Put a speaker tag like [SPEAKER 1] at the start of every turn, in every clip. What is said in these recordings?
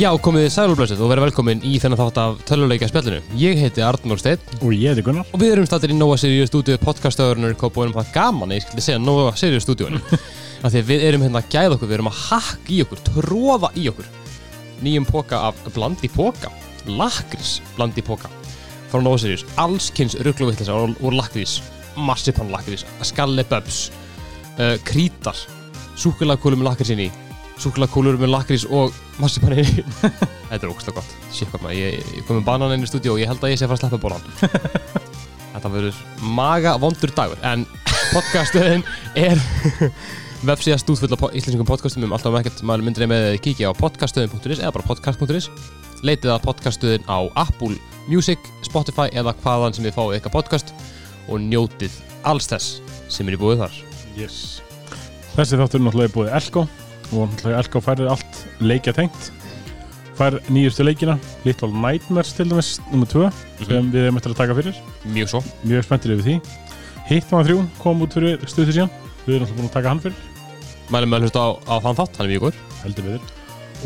[SPEAKER 1] Já, komið sælublausið og verið velkomin í þennan þátt af töluleika spjallinu. Ég heiti Arnór Steinn
[SPEAKER 2] Og ég heiti Gunnar
[SPEAKER 1] og við erum stattir í Nóa Sirius stúdíu podcastöðurinnar í Kópavónum. Það er gaman, að ég skildi segja Nóa Sirius stúdíunum. Af því að við erum hérna að gæða okkur, við erum að hakka í okkur, tróða í okkur. Nýjum póka af blandi póka, lakris blandi póka frá Nóa Sirius. Alls kynns ruggluvittlisar úr, úr lakrís, marsipan lakrís, skalleböbs, uh, krítar, súkulagkúlur með lakrís inn í, súkulagkúlur með lakrís og marsipan inn í. Þetta er ógustlega gott. Sér hvað maður, ég, ég kom með banan inn í stúdíu og ég held að ég sé að fara að sleppa bólan. Þetta verður maga vondur dagur, en podcastöðin er vefsíða stúðfull af po- íslenskum podcastum um alltaf um ekkert, maður myndir með að kíkja á podcaststöðin.is eða bara podcast.is leitið að podcaststöðin á Apple Music, Spotify eða hvaðan sem þið fáið eitthvað podcast og njótið alls þess sem er í búið þar
[SPEAKER 2] yes. Þessi þáttur er náttúrulega búið Elko og náttúrulega Elko færir allt leikja tengt fær nýjustu leikina Little Nightmares til dæmis nummer 2 sem við erum eftir að taka fyrir
[SPEAKER 1] Mjög svo
[SPEAKER 2] mjög spenntir yfir því Hitman 3 kom út fyrir stöðu síðan við erum náttúrulega búin að taka hann fyrir
[SPEAKER 1] Mælum með að hlusta á, á þann þátt, hann er mjög góður
[SPEAKER 2] heldur við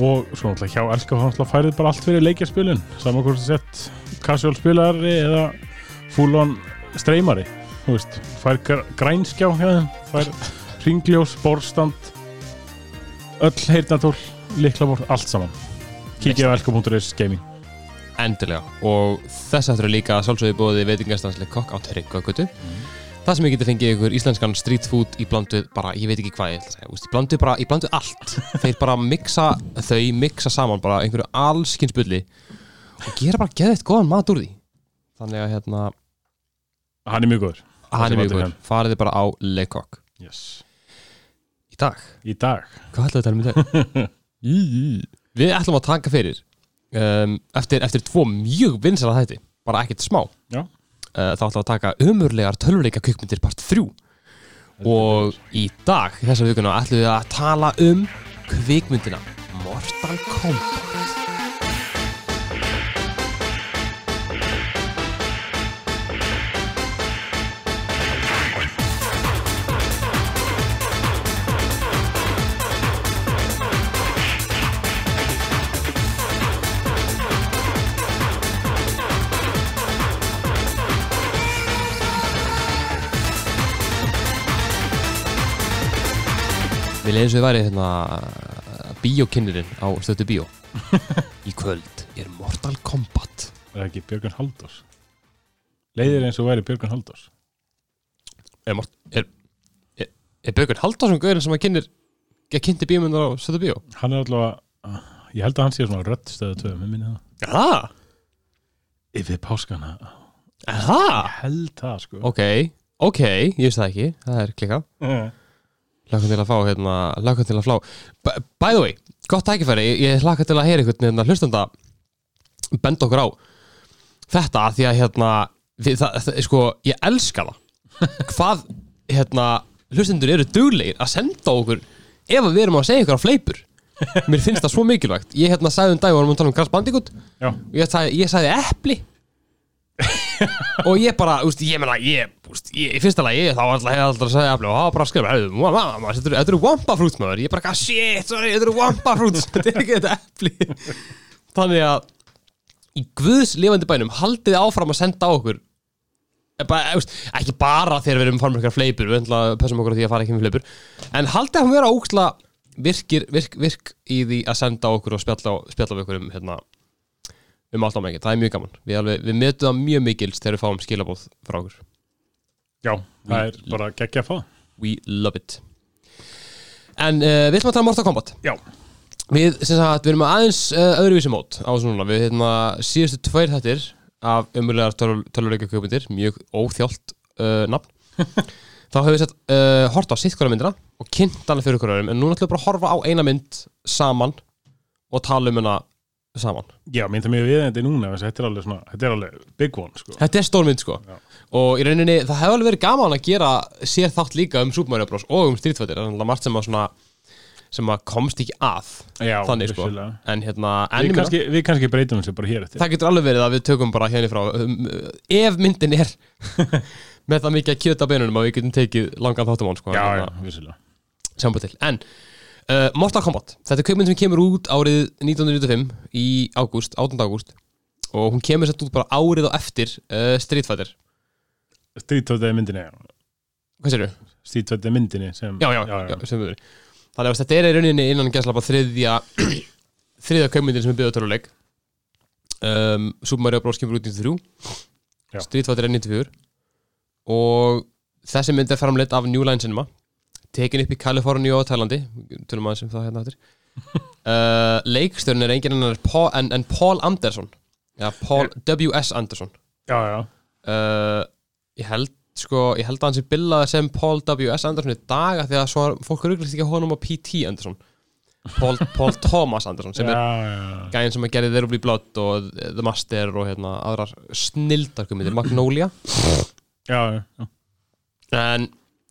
[SPEAKER 2] og svo náttúrulega hjá Elko hann náttúrulega færið bara allt fyrir leikjaspilun saman hvort það sett casual spilari eða full on streymari þú veist, fær gr- grænskjá hjá þeim, fær ringljós, borstand öll heyrnatól, liklabor, allt saman kíkja á elko.is gaming
[SPEAKER 1] Endilega Og þess aftur er líka að sjálfsögðu bóði veitingastansleik kokk á Tryggvagötu mm. Það sem ég geti fengið ykkur íslenskan street food í blandu bara, ég veit ekki hvað ég ætla að segja úst, í, blandu bara, í blandu allt Þeir bara mixa, þau mixa saman bara einhverju allskins bulli og gera bara geðið góðan mat úr því Þannig að hérna,
[SPEAKER 2] hann er mjög góður
[SPEAKER 1] hann er
[SPEAKER 2] sem
[SPEAKER 1] mjög
[SPEAKER 2] aldrei
[SPEAKER 1] góður Farið þið bara á leikokk
[SPEAKER 2] yes.
[SPEAKER 1] Í dag,
[SPEAKER 2] í dag
[SPEAKER 1] hvað ætlaðu að tala um í dag? Við ætlum að taka fyrir um, eftir, eftir tvo mjög vinsala þætti bara ekkert smá
[SPEAKER 2] Já.
[SPEAKER 1] uh, þá ætlum við að taka umurlegar tölvuleika kvikmyndir part 3 og í dag, þessa vikuna, ætlum við að tala um kvikmyndina Mortal Kombat Við leiðum svo við væri hérna bíókinnirinn á stötu bíó Í kvöld er Mortal Kombat
[SPEAKER 2] er það ekki Björgun Haldós leiðir eins og væri Björgun Haldós
[SPEAKER 1] Er, Mort- er, er, er Bögur Haldarsson gauðurinn sem að kynir að kynnti bíómyndar á stötu bíó?
[SPEAKER 2] hann er allavega ég held að hann sé svona rödd stöðu 2 með minni það
[SPEAKER 1] Er það?
[SPEAKER 2] yfir páskana
[SPEAKER 1] Er það?
[SPEAKER 2] held það sko
[SPEAKER 1] Ok, ok, ég veist það ekki Það er klika
[SPEAKER 2] Eh,
[SPEAKER 1] Laka til að fá, hérna, laka til að flá B By the way, gott tækifæri Ég, ég laka til að heyra einhvern hérna, hlustanda Benda okkur á Þetta af því að hérna við, það, það, Sko, ég elska það Hvað, hérna Hlustendur eru duglegir að senda okkur Ef að við erum að segja ykkur á fleipur Mér finnst það svo mikilvægt Ég hérna sagði um dag, við varum að tala um Gras Bandicoot
[SPEAKER 2] já,
[SPEAKER 1] og ég sagði, ég sagði epli og ég bara, úst, ég meina ég, úst, ég, í fyrsta lagi, þá var alltaf hefði alltaf að segja epli og það var bara að skrifa, hefðu, mamma, mamma, þetta eru- þetta eru wampafrúts maður, ég bara, eitthvað, shit, sorry, þetta eru wampafrúts, þetta er ekki þetta epli þannig að í guðs lifandi bænum, haldið áfram að senda á okkur Eh, bara, úst, ekki bara þegar við erum farin með eitthvað fleipur við ætlum að pössum okkur á því að fara ekki með fleipur en haldið að hún vera ógstla virkir, virk, virk í því að senda á okkur og spjalla, á- spjalla við okkur um hérna, um allt á mækið, það er mjög gaman við, alveg, við metum það mjög mikils þegar við fáum skilabóð frá okkur
[SPEAKER 2] já, það er
[SPEAKER 1] Mm.
[SPEAKER 2] bara geggja að fá
[SPEAKER 1] we love it en uh, við ætlum að tala um Mortal Kombat
[SPEAKER 2] já,
[SPEAKER 1] við, sem sagt, við erum aðeins uh, öðruvísi mót á þessu núna, við hérna síðustu tvær þættir af umurlegar töluleika kjöpmyndir, mjög óþjált uh, nafn þá höfum við sett uh, hort á sitt hverja myndina og kynnt hana fyrir hverja öðrum, en núna ætlum við bara að horfa á eina mynd saman og tala um hana saman
[SPEAKER 2] já mér það mjög við þetta núna þess að þetta er alveg svona, þetta er alveg big one sko.
[SPEAKER 1] Þetta er stór mynd sko
[SPEAKER 2] Já.
[SPEAKER 1] Og í rauninni það hefur alveg verið gaman að gera sér þátt líka um Super Mario Bros og um Street Fighter Það er náttúrulega margt sem að svona sem að komst ekki að
[SPEAKER 2] já,
[SPEAKER 1] þannig sko
[SPEAKER 2] vissulega.
[SPEAKER 1] En hérna en ég
[SPEAKER 2] við
[SPEAKER 1] meina,
[SPEAKER 2] kannski, við kannski breytum þessu bara hér eftir
[SPEAKER 1] það getur alveg verið að við tökum bara hérna frá um, uh, ef myndin er með það mikið að kjöta beinunum að við getum tekið langan þáttum án sko
[SPEAKER 2] já, já,
[SPEAKER 1] hérna,
[SPEAKER 2] vissulega
[SPEAKER 1] sjáum bara til en uh, Mortal Kombat, þetta er kveikmynd sem kemur út árið 1995 í ágúst, 18. ágúst og hún kemur sett út bara árið og eftir uh, Street Fighter
[SPEAKER 2] Strítvættið myndinni
[SPEAKER 1] Hvað sérðu?
[SPEAKER 2] Strítvættið myndinni sem
[SPEAKER 1] Já, já, já, já. sem við verið Þannig að þetta er í rauninni innan gæslapa þriðja þriðja kveikmyndin sem er byggðið töluleik um, Super Mario Bros. kemur út 93
[SPEAKER 2] Já.
[SPEAKER 1] Street Fighter er 94 og þessi mynd er framleitt af New Line Cinema tekin upp í Kaliforníu og Tælandi tölum aðeins um það hérna eftir uh, leikstörn er engin annar Paul, en, en Paul Anderson ja, Paul W.S. Anderson
[SPEAKER 2] já, já.
[SPEAKER 1] uh, ég held sko, ég held að hann sé billaði sem Paul W.S. Anderson í dag af því að svo er- fólk rugglist ekki að honum á P.T. Anderson Paul, Paul Thomas Anderson sem er
[SPEAKER 2] já, já, já.
[SPEAKER 1] gæðin sem að gerði There Will Be Blood og The Master og hérna aðrar snildarkumindir, Magnolia
[SPEAKER 2] já, já, já.
[SPEAKER 1] en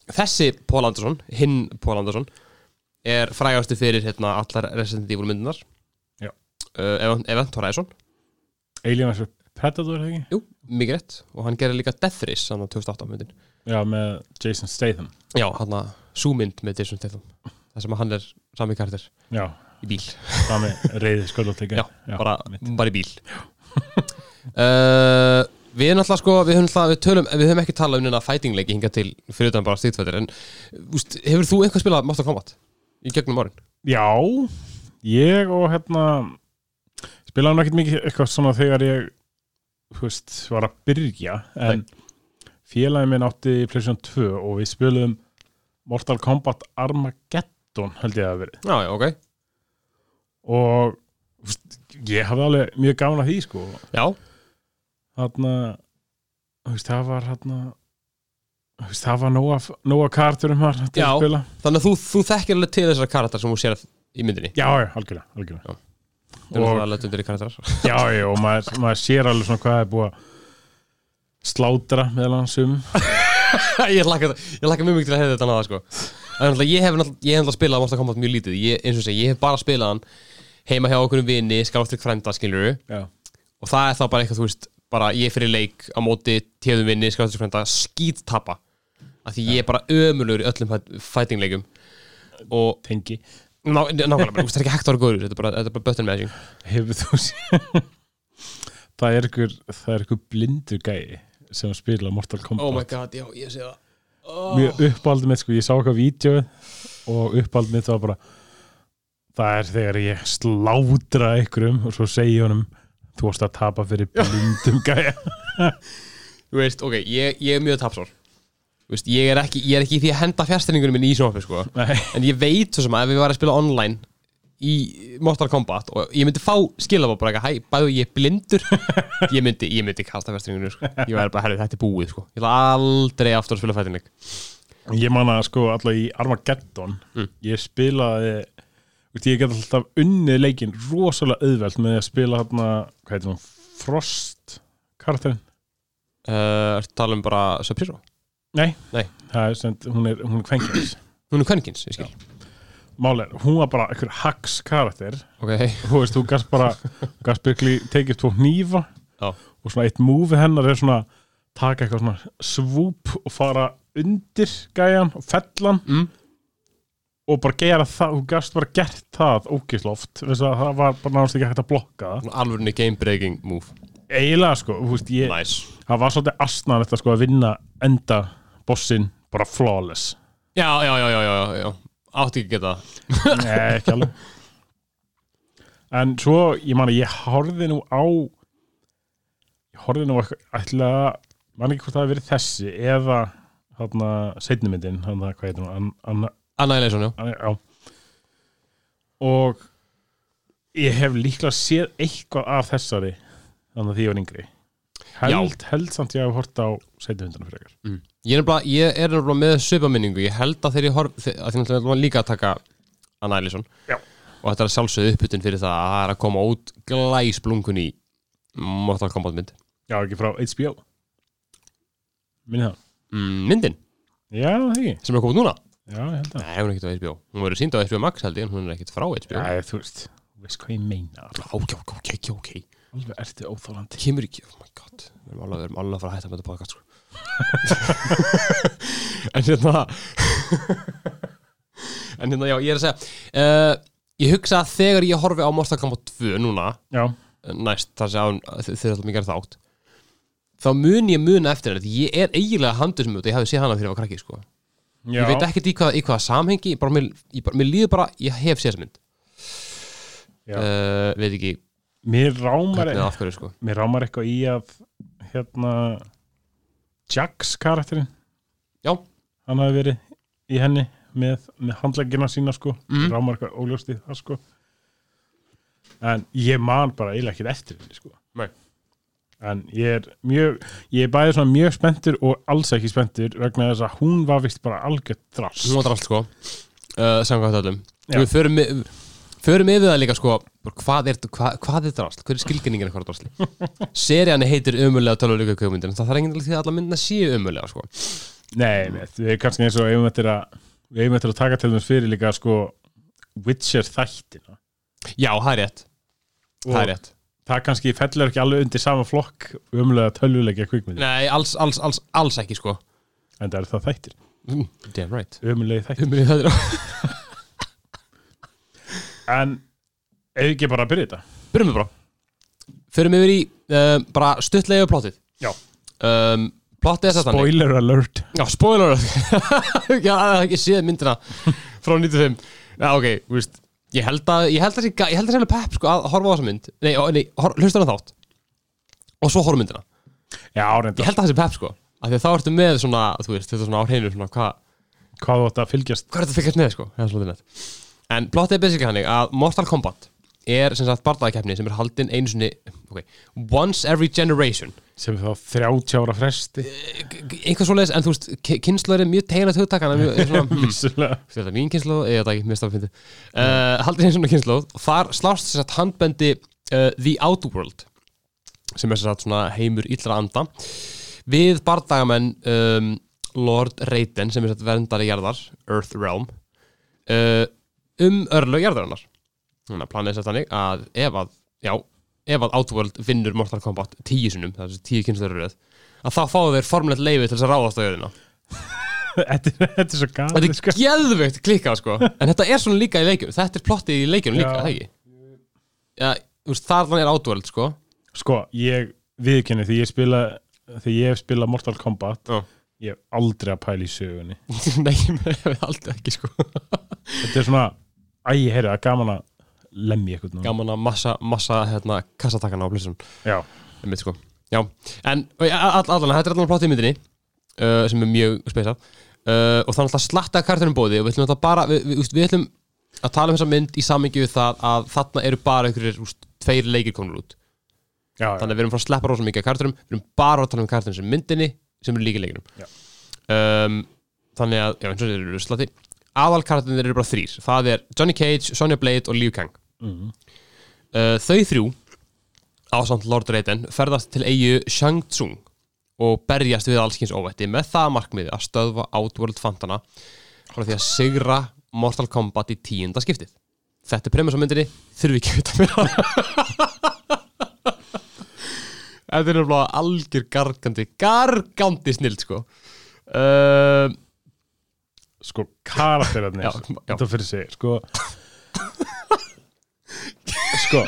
[SPEAKER 1] þessi Paul Anderson, hinn Paul Anderson er frægastu fyrir hérna allar Resident Evil myndunar
[SPEAKER 2] Já.
[SPEAKER 1] uh, Event Horizon,
[SPEAKER 2] Alien vs. Predator er það ekki?
[SPEAKER 1] jú, mikið rétt og hann gerði líka Death Race, hann á 2008 myndin
[SPEAKER 2] Já, með Jason Statham
[SPEAKER 1] Já, hann að súmynd með Jason Statham Það sem að hann er sami karakter
[SPEAKER 2] Já,
[SPEAKER 1] í bíl
[SPEAKER 2] það með reyði sköldóttíka
[SPEAKER 1] Já, bara, bara í bíl uh, Við erum alltaf sko við höfum, alltaf, við, tölum, við höfum ekki talað um neina fightingleiki hingað til fyrir utan bara stíðfættir en úst, hefur þú eitthvað spilað Mortal Kombat í gegnum árin?
[SPEAKER 2] Já, ég og hérna spilaði hann ekkert mikið eitthvað svona þegar ég þú veist, var að byrja en félagin minn átti PlayStation 2 og við spiluðum Mortal Kombat Armageddon held ég að hafi verið
[SPEAKER 1] Já, já, ok
[SPEAKER 2] og þú veist, ég hafði alveg mjög gaman að því sko
[SPEAKER 1] Já,
[SPEAKER 2] þarna þú veist, það var þarna þú veist, það var nóga, nóga karturum var um til
[SPEAKER 1] Já.
[SPEAKER 2] að spila
[SPEAKER 1] þannig að þú, þú þekkir alveg til þessara karakter sem þú sér í myndinni
[SPEAKER 2] Já, já, algjörlega, algjörlega.
[SPEAKER 1] Það er
[SPEAKER 2] Og-
[SPEAKER 1] það letundir í karakterar
[SPEAKER 2] Já, já, og maður, maður sér alveg svona hvað er búið að slátra meðal hans um
[SPEAKER 1] Ég laka, ég laka mjög mikið til að hefða þetta náða sko. En náttúrulega, Ég hef náttúrulega- ég hef náttúrulega spilað Mortal Kombat mjög lítið ég, eins og segja, ég hef bara spilað hann heima hjá okkur um vini, skálstrík frænda skilur
[SPEAKER 2] Já,
[SPEAKER 1] og það er þá bara eitthvað, þú veist bara ég fyrir leik á móti tjöðum vinni, skáttur frænda, skíttapa af því ég er bara ömulugur í öllum fight- fightingleikum og
[SPEAKER 2] tengi
[SPEAKER 1] ná, nákvæmlega, bara, þú veist, það er ekki hægt að vera góður þetta er bara, þetta er bara button mashing
[SPEAKER 2] Hefur þú sér Það er ykkur, það er ykkur blindur gæi sem spila Mortal Kombat
[SPEAKER 1] Oh god, já, ég sé það Oh.
[SPEAKER 2] Mjög uppáldið mitt, sko, ég sá eitthvað vídeo og uppáldið mitt var bara það er þegar ég slátra ykkurum og svo segi ég honum þú varst að tapa fyrir blindum gæja
[SPEAKER 1] þú veist, ok, ég, ég er mjög tapsór þú veist, ég er ekki, ég er ekki í því að henda fjastendingunum minni í sjónvarpi, sko
[SPEAKER 2] Nei,
[SPEAKER 1] en ég veit svo sem að ef ég var að spila online í Mortal Kombat og ég myndi fá skilabóð bara eitthvað, hæ, bæðu ég er blindur ég myndi, ég myndi kasta festringunum sko. ég væri bara, herrið, þetta er búið sko. ég ætla aldrei aftur að spila fætinleik
[SPEAKER 2] Ég man að sko alltaf í Armageddon
[SPEAKER 1] Mm.
[SPEAKER 2] ég spilaði veist, ég get alltaf unnið leikinn rosalega auðvelt með að spila hérna hvað heitir hún, Frost karakterinn,
[SPEAKER 1] uh, ertu að tala um bara Sub-Zero
[SPEAKER 2] nei,
[SPEAKER 1] Nei.
[SPEAKER 2] Það er, sem, hún er, hún er kvenkjans
[SPEAKER 1] hún er kvenkins, ég skil
[SPEAKER 2] Málega, hún var bara einhver hax karakter
[SPEAKER 1] ok,
[SPEAKER 2] þú veist, þú gast bara þú gast byggli tekið tvo hnífa
[SPEAKER 1] Já.
[SPEAKER 2] og svona eitt múfi hennar er svona taka eitthvað svona svúp og fara undir gæjan og fellan
[SPEAKER 1] mm.
[SPEAKER 2] og bara gera það, þú gast bara gert það ógisloft, þess að það var bara náttúrulega ekki hægt að blokka það.
[SPEAKER 1] alvörinu game-breaking move
[SPEAKER 2] Eiginlega sko, þú veist, ég,
[SPEAKER 1] nice
[SPEAKER 2] það var svolítið astnaðan sko að vinna enda bossin bara flawless.
[SPEAKER 1] já, já, já, já, já, já, já. átti ekki að geta það.
[SPEAKER 2] Nei, ekki alveg. En svo, ég man að ég horfði nú á, ég horfði nú á eitthvað, ætla, man ekki hvort það hafi verið þessi, eða þarna seinumyndin, þarna, hvað heitir hún, Ann- Anna,
[SPEAKER 1] Annihilation, já
[SPEAKER 2] já og ég hef líklega séð eitthvað af þessari þannig að því ég var yngri held, held samt ég hef hort á setjuhundana fyrir ykkar
[SPEAKER 1] Mm. Ég er, nefnilega, ég er nefnilega með söpaminningu Ég held að þegar ég horf þe- að Því náttúrulega var líka að taka Annælison
[SPEAKER 2] Já.
[SPEAKER 1] Og þetta er sjálfsögðu uppbytun fyrir það að það er að koma út glæsblunkun í Mortal Kombat mynd
[SPEAKER 2] já ekki frá HBO minni það
[SPEAKER 1] mm, Myndin
[SPEAKER 2] já það ekki
[SPEAKER 1] sem er að koma út núna
[SPEAKER 2] já ég held það
[SPEAKER 1] Nei, hún er ekkert á HBO Hún verður sínd á HBO Max held ég en hún er ekkert frá HBO
[SPEAKER 2] já ég, þú veist þú veist hvað ég meina
[SPEAKER 1] Já, ok, ok, ok, ok, ok
[SPEAKER 2] alveg ertu óþólandi
[SPEAKER 1] Kemur ekki, oh my god Við erum alveg, við erum alveg að fara að hætta með þetta podcast sko. En hérna En hérna, já, ég er að segja uh, Ég hugsa að þegar ég horfi á Mortal Kombat 2 núna eh,
[SPEAKER 2] já,
[SPEAKER 1] næst þar sem þeir ætlum að gera þátt þá mun ég muna eftir þetta ég er eiginlega handur sem þetta, ég hafði séð hana þegar ég var krakki sko.
[SPEAKER 2] já.
[SPEAKER 1] ég veit ekkert í hvaða, í hvaða samhengi bara mér, ég bara, mér líður bara, ég hef séð þessa mynd
[SPEAKER 2] Já.
[SPEAKER 1] uh, veit ekki
[SPEAKER 2] mér rámar, e-
[SPEAKER 1] hvernig eða af hverju sko.
[SPEAKER 2] mér rámar eitthvað í að hérna Jax karakterinn
[SPEAKER 1] já,
[SPEAKER 2] hann hafi verið í henni með, með handleggina sína sko
[SPEAKER 1] Mhm.
[SPEAKER 2] mm. rámar eitthvað óljóst í það sko en ég man bara eiginlega ekkert eftir henni sko
[SPEAKER 1] Nei.
[SPEAKER 2] en ég er mjög ég er bæðið svona mjög spenntur og alls ekki spenntur vegna þess að hún var vist bara algjörð drast
[SPEAKER 1] hún var allt sko uh, samkvæmt öllum
[SPEAKER 2] Já.
[SPEAKER 1] við förum, með- förum yfir það líka sko bara, hvað er, hvað, hvað er drasl, hver er skilgenningin eitthvað drasli serían heitir ömulega tölvuleika kveikmyndir en það þarf enginn til að alla myndina séu ömulega sko.
[SPEAKER 2] Nei, nei, við erum kannski eins og eigum eftir að við eigum eftir að taka til þess fyrir líka sko Witcher þættina
[SPEAKER 1] já, það er rétt það er rétt
[SPEAKER 2] það kannski fellur ekki alveg undir sama flokk umlega tölvulegja kvikmyndir
[SPEAKER 1] Nei, alls, alls, alls, alls ekki sko
[SPEAKER 2] en það er það þættir,
[SPEAKER 1] Mm, Damn right
[SPEAKER 2] umlega þættir
[SPEAKER 1] Umrið það er á
[SPEAKER 2] en ef ekki bara að byrja þetta
[SPEAKER 1] Byrjum við bara Förum yfir í uh, bara stuttlega yfir plottið
[SPEAKER 2] Já.
[SPEAKER 1] um, Plottið er þetta
[SPEAKER 2] Spoiler alert
[SPEAKER 1] Já, spoiler alert. Já, það er ekki séð myndina frá 95 Já, ok, þú veist Ég held að, ég held að, sé- ég held að sé alveg pepp sko að horfa á þessa mynd Nei, ó, nei hor, hlusta hana þátt Og svo horfa á myndina
[SPEAKER 2] Já,
[SPEAKER 1] Ég
[SPEAKER 2] reynda,
[SPEAKER 1] held að það sé pepp sko Af því að þá ertu með svona, þú veist, þetta er svona á hreinu svona hvað
[SPEAKER 2] hvað þú átt að fylgjast
[SPEAKER 1] hvað er þetta að fylgjast með sko Eða svolítið nett. en plottið er basically hannig að Mortal Kombat er sem sagt bardaðakeppni sem er haldin einu sinni okay, once every generation Eh,
[SPEAKER 2] sem þá 30 ára fresti
[SPEAKER 1] einhvers svoleiðis en þú veist kynnslóður er mjög teginat hugtak hann er mjög er svona hmm,
[SPEAKER 2] vissulega
[SPEAKER 1] er þetta mín kynnslóð eða þetta ekki mér stafið fyndi uh, haldin einu sinni kynnslóð og þar slást sem sagt handbendi uh, The Outworld sem er sem sagt svona heimur illra anda við bardagamenn um, Lord Raiden sem er sett verndari jarðar Earth Realm uh, um örlög jarðarinnar þannig að planið sett þannig að ef að já, ef að Outworld vinnur Mortal Kombat tíu sinnum, það er tíu kynstöðuröð að þá fáu þeir formlegt leifi til þess að ráðast á jörðina
[SPEAKER 2] þetta, er- þetta er svo sko.
[SPEAKER 1] þetta
[SPEAKER 2] gæti
[SPEAKER 1] er geðveikt klikkað sko en þetta er svona líka í leikjum, þetta er plottið í leikjum líka,
[SPEAKER 2] Já.
[SPEAKER 1] er það ekki já, þú veist, þar þannig er Outworld sko
[SPEAKER 2] Sko, ég viðkynni því ég spila því ég hef spilað Mortal Kombat
[SPEAKER 1] Já.
[SPEAKER 2] ég hef aldrei að pæla í sögunni
[SPEAKER 1] nei, við aldrei ekki sko
[SPEAKER 2] þetta er svona, æ, heyrðu, það er gaman að lemja eitthvað núna.
[SPEAKER 1] gaman að massa, massa hérna, kassatakana á plessunum
[SPEAKER 2] Já,
[SPEAKER 1] Einmitt, sko. Já, en og ég- all- allan, þetta er allan plottið í myndinni uh, sem er mjög speysað uh, og þannig að slatta kartunum bóði og við ætlum þetta bara, við, við, úst, við ætlum að tala um þessa mynd í samingi við það að þarna eru bara einhverjir úst, tveir leikir komnur út
[SPEAKER 2] já,
[SPEAKER 1] þannig að við erum frá að sleppa rosa mikið af kartunum við erum bara að tala um kartunum sem myndinni sem eru líka leikinum
[SPEAKER 2] Já.
[SPEAKER 1] um, þannig að, já eins og þeir eru slatti aðalkartunir eru bara þrýr það er Johnny Cage, Sonya Blade og Liu Kang
[SPEAKER 2] Mhm.
[SPEAKER 1] uh, þau þrjú ásamt Lord Raiden ferðast til eigu Shang-Tsung og berjast við allskins óvætti með það markmiði að stöðva Outworld fantana frá því að sigra Mortal Kombat í tíunda skiptið þetta er premis á myndinni, þurfi ekki að vita mér þetta er náttúrulega algjör gargandi, gargandi snild sko uh,
[SPEAKER 2] sko, karakterarnir
[SPEAKER 1] Já, já.
[SPEAKER 2] þetta fyrir sig, sko sko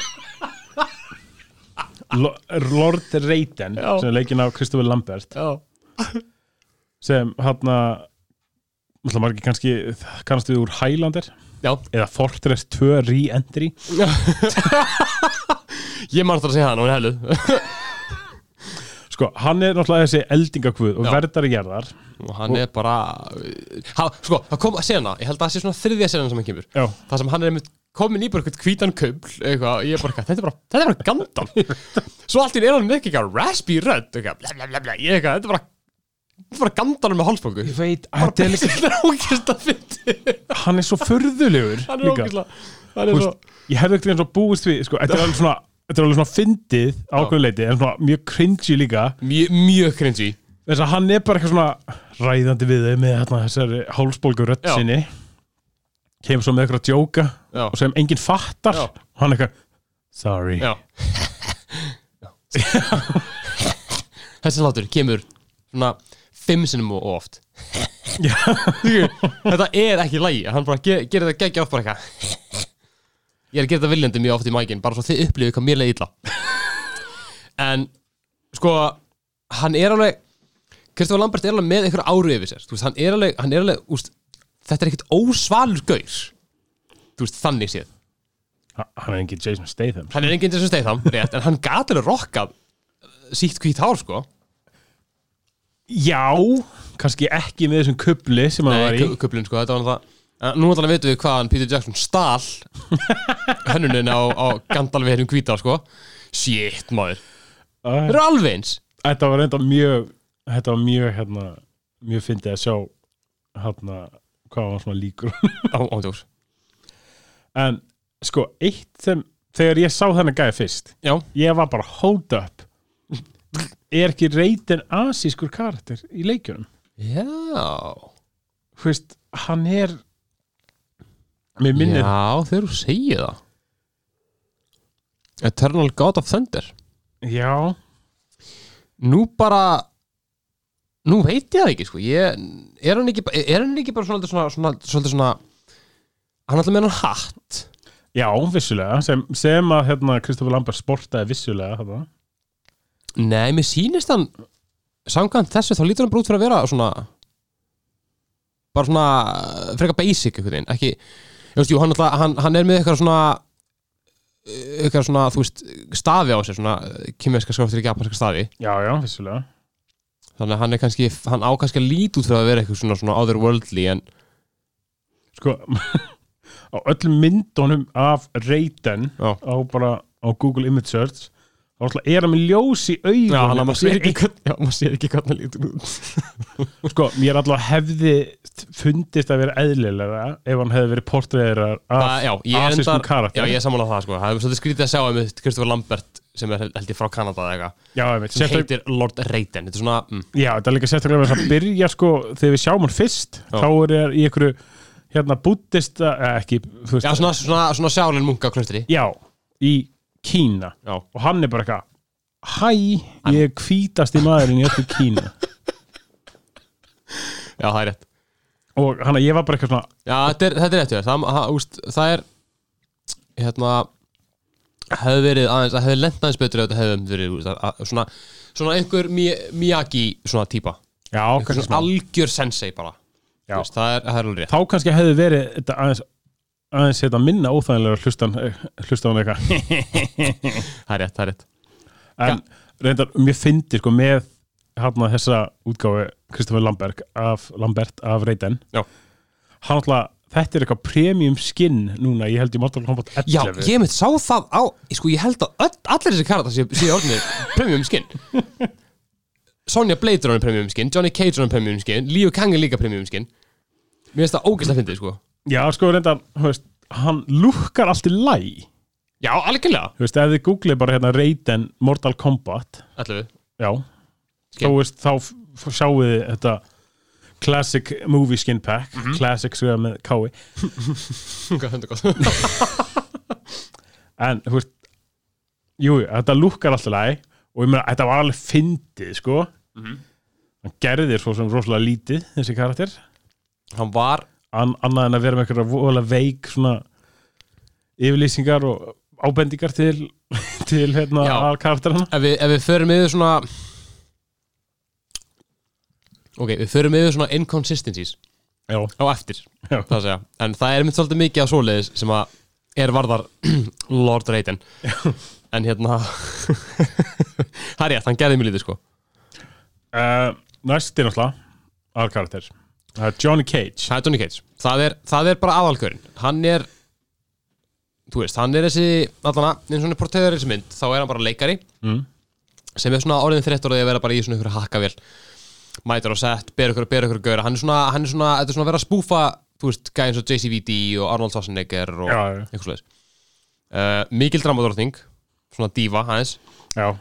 [SPEAKER 2] Lo- Lord Raiden
[SPEAKER 1] Já.
[SPEAKER 2] sem er leikinn af Kristofur Lambert
[SPEAKER 1] já,
[SPEAKER 2] sem hann að margir kannski kannast við úr Highlander
[SPEAKER 1] já,
[SPEAKER 2] eða Fortress 2 Re-Entry
[SPEAKER 1] ég mann það að segja það hún er heiluð
[SPEAKER 2] sko, hann er náttúrulega þessi eldingakvöð og
[SPEAKER 1] Já.
[SPEAKER 2] verðari gerðar
[SPEAKER 1] og hann er bara ha, sko, það kom að sena, ég held að það sé svona þriðja sena sem hann kemur,
[SPEAKER 2] já,
[SPEAKER 1] það sem hann er einmitt komin í bara eitthvað hvítan köfl eitthvað, og ég er bara, eitthvað, þetta er bara, þetta er bara Gandalf svo allt í einu er hann með eitthvað raspy rödd eitthvað, bla, bla, bla, bla, ég eitthvað, þetta er bara þetta er bara Gandalf með hálsbóku
[SPEAKER 2] ég veit
[SPEAKER 1] þetta er líka ógæst að fyndi
[SPEAKER 2] hann er svo förðulegur
[SPEAKER 1] hann er ógæst hann
[SPEAKER 2] Þú
[SPEAKER 1] er svo
[SPEAKER 2] veist, ég hefði ekkert eins og búist við sko, þetta er alveg svona þetta er alveg svona fyndið ákveðleiti en svona mjög cringy líka
[SPEAKER 1] mjög, mjög cringy
[SPEAKER 2] þess að hann er bara eitthvað svona ræðandi við þau með þarna, þessari hálsbólgu rödd
[SPEAKER 1] Já.
[SPEAKER 2] sinni kemur svo með eitthvað að djóka
[SPEAKER 1] Já.
[SPEAKER 2] og sem enginn fattar
[SPEAKER 1] Já.
[SPEAKER 2] og hann eitthvað sorry
[SPEAKER 1] já þessi hlátur kemur svona fimm sinnum og oft Skilur, þetta er ekki lægi hann bara ge gerir þetta geggja oft bara eitthvað ég er að gera þetta viljandi mjög oft í mækin bara svo þið upplifið hvað mér leið illa en sko hann er alveg Kristofur Lambert er alveg með einhver áru yfir sér Þú veist, hann er alveg, hann er alveg úst, þetta er ekkert ósvalur gaur Þú veist, þannig séð
[SPEAKER 2] Ha- Hann er engin Jason Statham
[SPEAKER 1] hann er enginn sem steið þam, rétt, en hann gat alveg rokkað sítt hvít hár sko
[SPEAKER 2] Já, kannski ekki með þessum kubli sem hann var í
[SPEAKER 1] Nei, kuplun sko, þetta var náttúrulega Eh, Nú náttúrulega veitum við hvaðan Peter Jackson stál hönnunin á, á Gandalfi hérum hvíta sko Shit maður, þeir
[SPEAKER 2] Æ,
[SPEAKER 1] eru alveg eins
[SPEAKER 2] Þetta var reynda mjög Þetta var mjög hérna Mjög fyndið að sjá hérna hvað hann svona líkur
[SPEAKER 1] Á, ándjóks,
[SPEAKER 2] En sko, eitt sem Þegar ég sá þennan gæði fyrst
[SPEAKER 1] já,
[SPEAKER 2] Ég var bara hold up Er ekki reytin asískur karakter í leikjunum?
[SPEAKER 1] já
[SPEAKER 2] Þú veist, hann er Mér minnir
[SPEAKER 1] Já, þeir eru segið það Eternal God of Thunder
[SPEAKER 2] Já,
[SPEAKER 1] Nú bara Nú veit ég það ekki sko ég, Er hann ekki, ba- er hann ekki bara svona, svona, svona, svona, svona Hann ætla með hann hatt
[SPEAKER 2] já, vissulega sem, sem að hérna Kristofur Lambert sportaði vissulega þarna.
[SPEAKER 1] Nei, mér sýnist hann samkvæmt þessu þá lítur hann bara út fyrir að vera svona bara svona uh, frekar basic einhvern veginn, ekki ég veist, jú, hann, alltaf, hann, hann er með eitthvað svona eitthvað svona, þú veist, stafi á sér svona kymverska skráttur í japanska stafi
[SPEAKER 2] Já, já, vissulega
[SPEAKER 1] þannig að hann er kannski, hann á kannski að líti út fyrir að vera eitthvað svona, svona otherworldly en
[SPEAKER 2] sko á öllum myndunum af Raiden
[SPEAKER 1] Já.
[SPEAKER 2] á bara á Google Image Search þá alltaf er hann með ljós í augun
[SPEAKER 1] já, hann, maður sér ekki, hvern- já, maður sér ekki hvernig hann lítur út
[SPEAKER 2] sko, mér alltaf hefði fundist að vera eðlilega ef hann hefði verið portræðir af
[SPEAKER 1] Það- já, ég er
[SPEAKER 2] asískum
[SPEAKER 1] endar, já,
[SPEAKER 2] karakter
[SPEAKER 1] ég er sammála það sko, það er svolítið skrítið að sjá um Kristoffer Lambert sem er held ég frá Kanada eða eitthvað
[SPEAKER 2] já, einmitt.
[SPEAKER 1] sem
[SPEAKER 2] Sérstak-
[SPEAKER 1] heitir Lord Raiden þetta er svona, mm,
[SPEAKER 2] já, þetta er líka sérstaklega með það að byrja sko, þegar við sjáum hann fyrst
[SPEAKER 1] Já.
[SPEAKER 2] þá er hann í einhverju hérna búttista, ekki þú veist,
[SPEAKER 1] já svona, svona, svona sjálin munka klustri
[SPEAKER 2] já, í Kína
[SPEAKER 1] já,
[SPEAKER 2] og hann er bara eitthvað Hæ, ég er hvítasti maðurinn í öllu Kína
[SPEAKER 1] já, það er rétt
[SPEAKER 2] og hann að ég var bara eitthvað svona
[SPEAKER 1] já, þetta er, þetta er rétt, já, það, það, úst, það er hérna hefði verið aðeins, það hefði lent aðeins betur ef þetta hefði verið, úst, að, að, svona svona einhver Mi- Miyagi svona típa
[SPEAKER 2] já, kannski
[SPEAKER 1] svona
[SPEAKER 2] svona
[SPEAKER 1] algjör sensei bara
[SPEAKER 2] Já.
[SPEAKER 1] Þú veist, það er, það er alveg rétt
[SPEAKER 2] þá kannski hefði verið þetta aðeins aðeins þetta minna óþægilega hlustan hlustan hann eitthvað
[SPEAKER 1] það er rétt, það er rétt
[SPEAKER 2] en reyndar mjög fyndi sko með hann að þessa útgáfu Kristoffer Lambert af, Lambert af Reiden
[SPEAKER 1] Já.
[SPEAKER 2] hann alltaf þetta er eitthvað premium skin núna ég held ég Mortal Kombat 11
[SPEAKER 1] Já, ég mitt sá það á Sko, ég held að öll, allir þessi karatar sé, sé orðinir premium skin Sonja Blade er orðin premium skin Johnny Cage er orðin premium skin Líu Kang er líka premium skin Mér finnst það ógeðslega fyndið, sko
[SPEAKER 2] já sko reyndar þú veist, hann lukkar allt í læ
[SPEAKER 1] Já, algjörlega
[SPEAKER 2] þú veist ef þið googlið bara hérna Reiden Mortal Kombat
[SPEAKER 1] Ætlu við
[SPEAKER 2] já
[SPEAKER 1] Skin.
[SPEAKER 2] þá veist þá f- f- sjáu þið þetta classic movie skin pack classic svo með E. kái
[SPEAKER 1] Hvað hendur gott
[SPEAKER 2] en þú veist jú, jú, þetta lukkar alltaf læg og ég meina þetta var alveg fyndið sko
[SPEAKER 1] Mhm.
[SPEAKER 2] hann gerði svo sem rosalega lítið þessi karakter
[SPEAKER 1] Hann var
[SPEAKER 2] An annað en að vera með eitthvað vola veik svona yfirlýsingar og ábendingar til til hérna
[SPEAKER 1] Já.
[SPEAKER 2] að karakterana
[SPEAKER 1] Ef við, ef við förum yfir svona Ok, við förum yfir svona inconsistencies
[SPEAKER 2] já,
[SPEAKER 1] Á eftir
[SPEAKER 2] já,
[SPEAKER 1] það að segja en það er mitt svolítið mikið af svoleiðis sem að er varðar Lord Raiden en hérna það er rétt, hann gerði mjög lítið sko
[SPEAKER 2] Uh, næst er náttúrulega aðalkarakter það er Johnny Cage
[SPEAKER 1] það er Johnny Cage, það er, það er bara aðalkjörin hann er þú veist, hann er þessi allana, eins og hann er portræður í þessi mynd, þá er hann bara leikari
[SPEAKER 2] Mm.
[SPEAKER 1] sem er svona orðin þreyttur á því að vera bara í svona ykkur hakkavél mætur á sett, ber ykkur, ber ykkur gaur hann er svona, hann er svona, þetta er svona að vera að spúfa þú veist, gæði eins og JCVD og Arnold Schwarzenegger og
[SPEAKER 2] Já, já.
[SPEAKER 1] eitthvað slags uh, mikil dramadorting svona diva hans
[SPEAKER 2] já,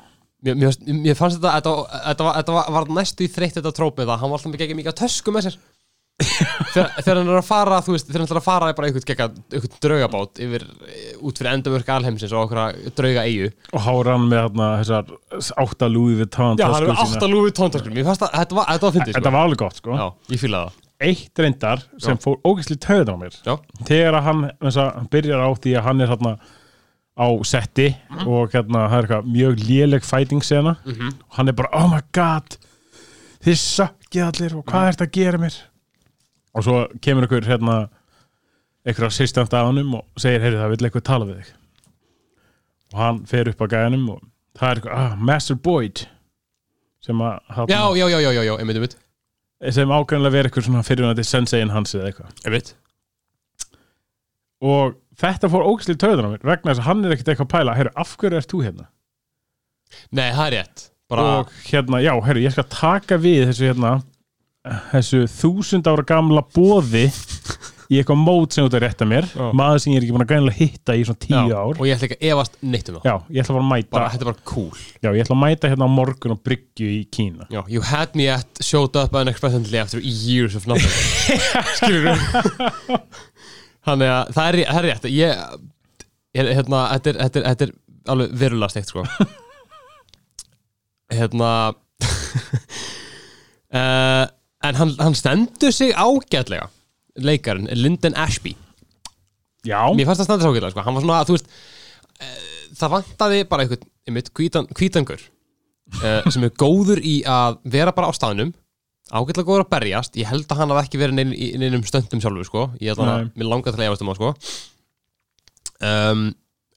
[SPEAKER 1] mér, mér, fannst- mér fannst þetta, þetta, þetta, var, þetta var, var næstu í þreytt þetta tróp með það, hann var alltaf ekki mikið að tösku með sér þegar, þegar hann er að fara þú veist, þegar hann er að fara í bara einhvern, gegga, einhvern draugabát yfir, út fyrir endamörk alheimsins og okkur drauga eigu
[SPEAKER 2] og hára hann með þarna þessar átta Louis Vuitton
[SPEAKER 1] já, hann
[SPEAKER 2] töskur
[SPEAKER 1] er átt
[SPEAKER 2] sína.
[SPEAKER 1] að lúfi tóntaskur mér fannst að þetta var, þetta var fyndið
[SPEAKER 2] þetta
[SPEAKER 1] sko.
[SPEAKER 2] var alveg gott sko
[SPEAKER 1] já, ég fílaði það
[SPEAKER 2] eitt reyndar sem fór ógæsli töðan á mér
[SPEAKER 1] Já,
[SPEAKER 2] þegar að hann, þess að hann byrjar á því að hann er hérna á setti og hérna, það er eitthvað mjög léleg fighting sena og hann er bara, oh my god þið sökkið allir og hvað ertu að gera mér og svo kemur einhver hérna einhver assistant að honum og segir, heyrðu það vill eitthvað tala við þig og hann fer upp að gæðanum og það er eitthvað, ah, Master Boyd sem að
[SPEAKER 1] já,
[SPEAKER 2] hérna,
[SPEAKER 1] já, já, já, já, já, einmitt, einmitt
[SPEAKER 2] sem ákveðanlega verið eitthvað svona fyrirvændi senseiinn hans eða eitthvað
[SPEAKER 1] Einmitt
[SPEAKER 2] og þetta fór ógæslega töðan á mér vegna þess að hann er ekkert eitthvað að pæla herru, af hverju ert þú hérna?
[SPEAKER 1] Nei, það er rétt Bara,
[SPEAKER 2] og hérna, já, herru, ég skal taka við þessu hérna þessu þúsund ára gamla boði í eitthvað mót sem þú ert að rétta mér
[SPEAKER 1] Já.
[SPEAKER 2] maður sem ég er ekki búin að gænilega hitta í svona tíu
[SPEAKER 1] já,
[SPEAKER 2] ár
[SPEAKER 1] Og ég ætla ekki að efast neitt um það
[SPEAKER 2] já, ég ætla bara að mæta
[SPEAKER 1] Bara, þetta er bara cool
[SPEAKER 2] já, ég ætla að mæta hérna á morgun og bryggju í Kína
[SPEAKER 1] Já, you had me at showed up unexpectedly after years of nothing Skilur þú? Þannig að það er, það er rétt Ég, ég hérna, þetta er, þetta er, þetta er alveg verulega steikt sko Hérna uh, En hann, hann stendur sig ágætlega Leikarinn, Lyndon Ashby
[SPEAKER 2] já,
[SPEAKER 1] Mér fannst það standa sig ágætlega sko Hann var svona, þú veist uh, Það vantaði bara einhvern, einmitt, hvítan, hvítangur uh, sem er góður í að vera bara á staðnum ágætlega góður að berjast ég held að hann hafði ekki verið neinn, í neinum stöndum sjálfur sko. ég held að hann,
[SPEAKER 2] Nei.
[SPEAKER 1] mér langar til að efast um hann sko. um,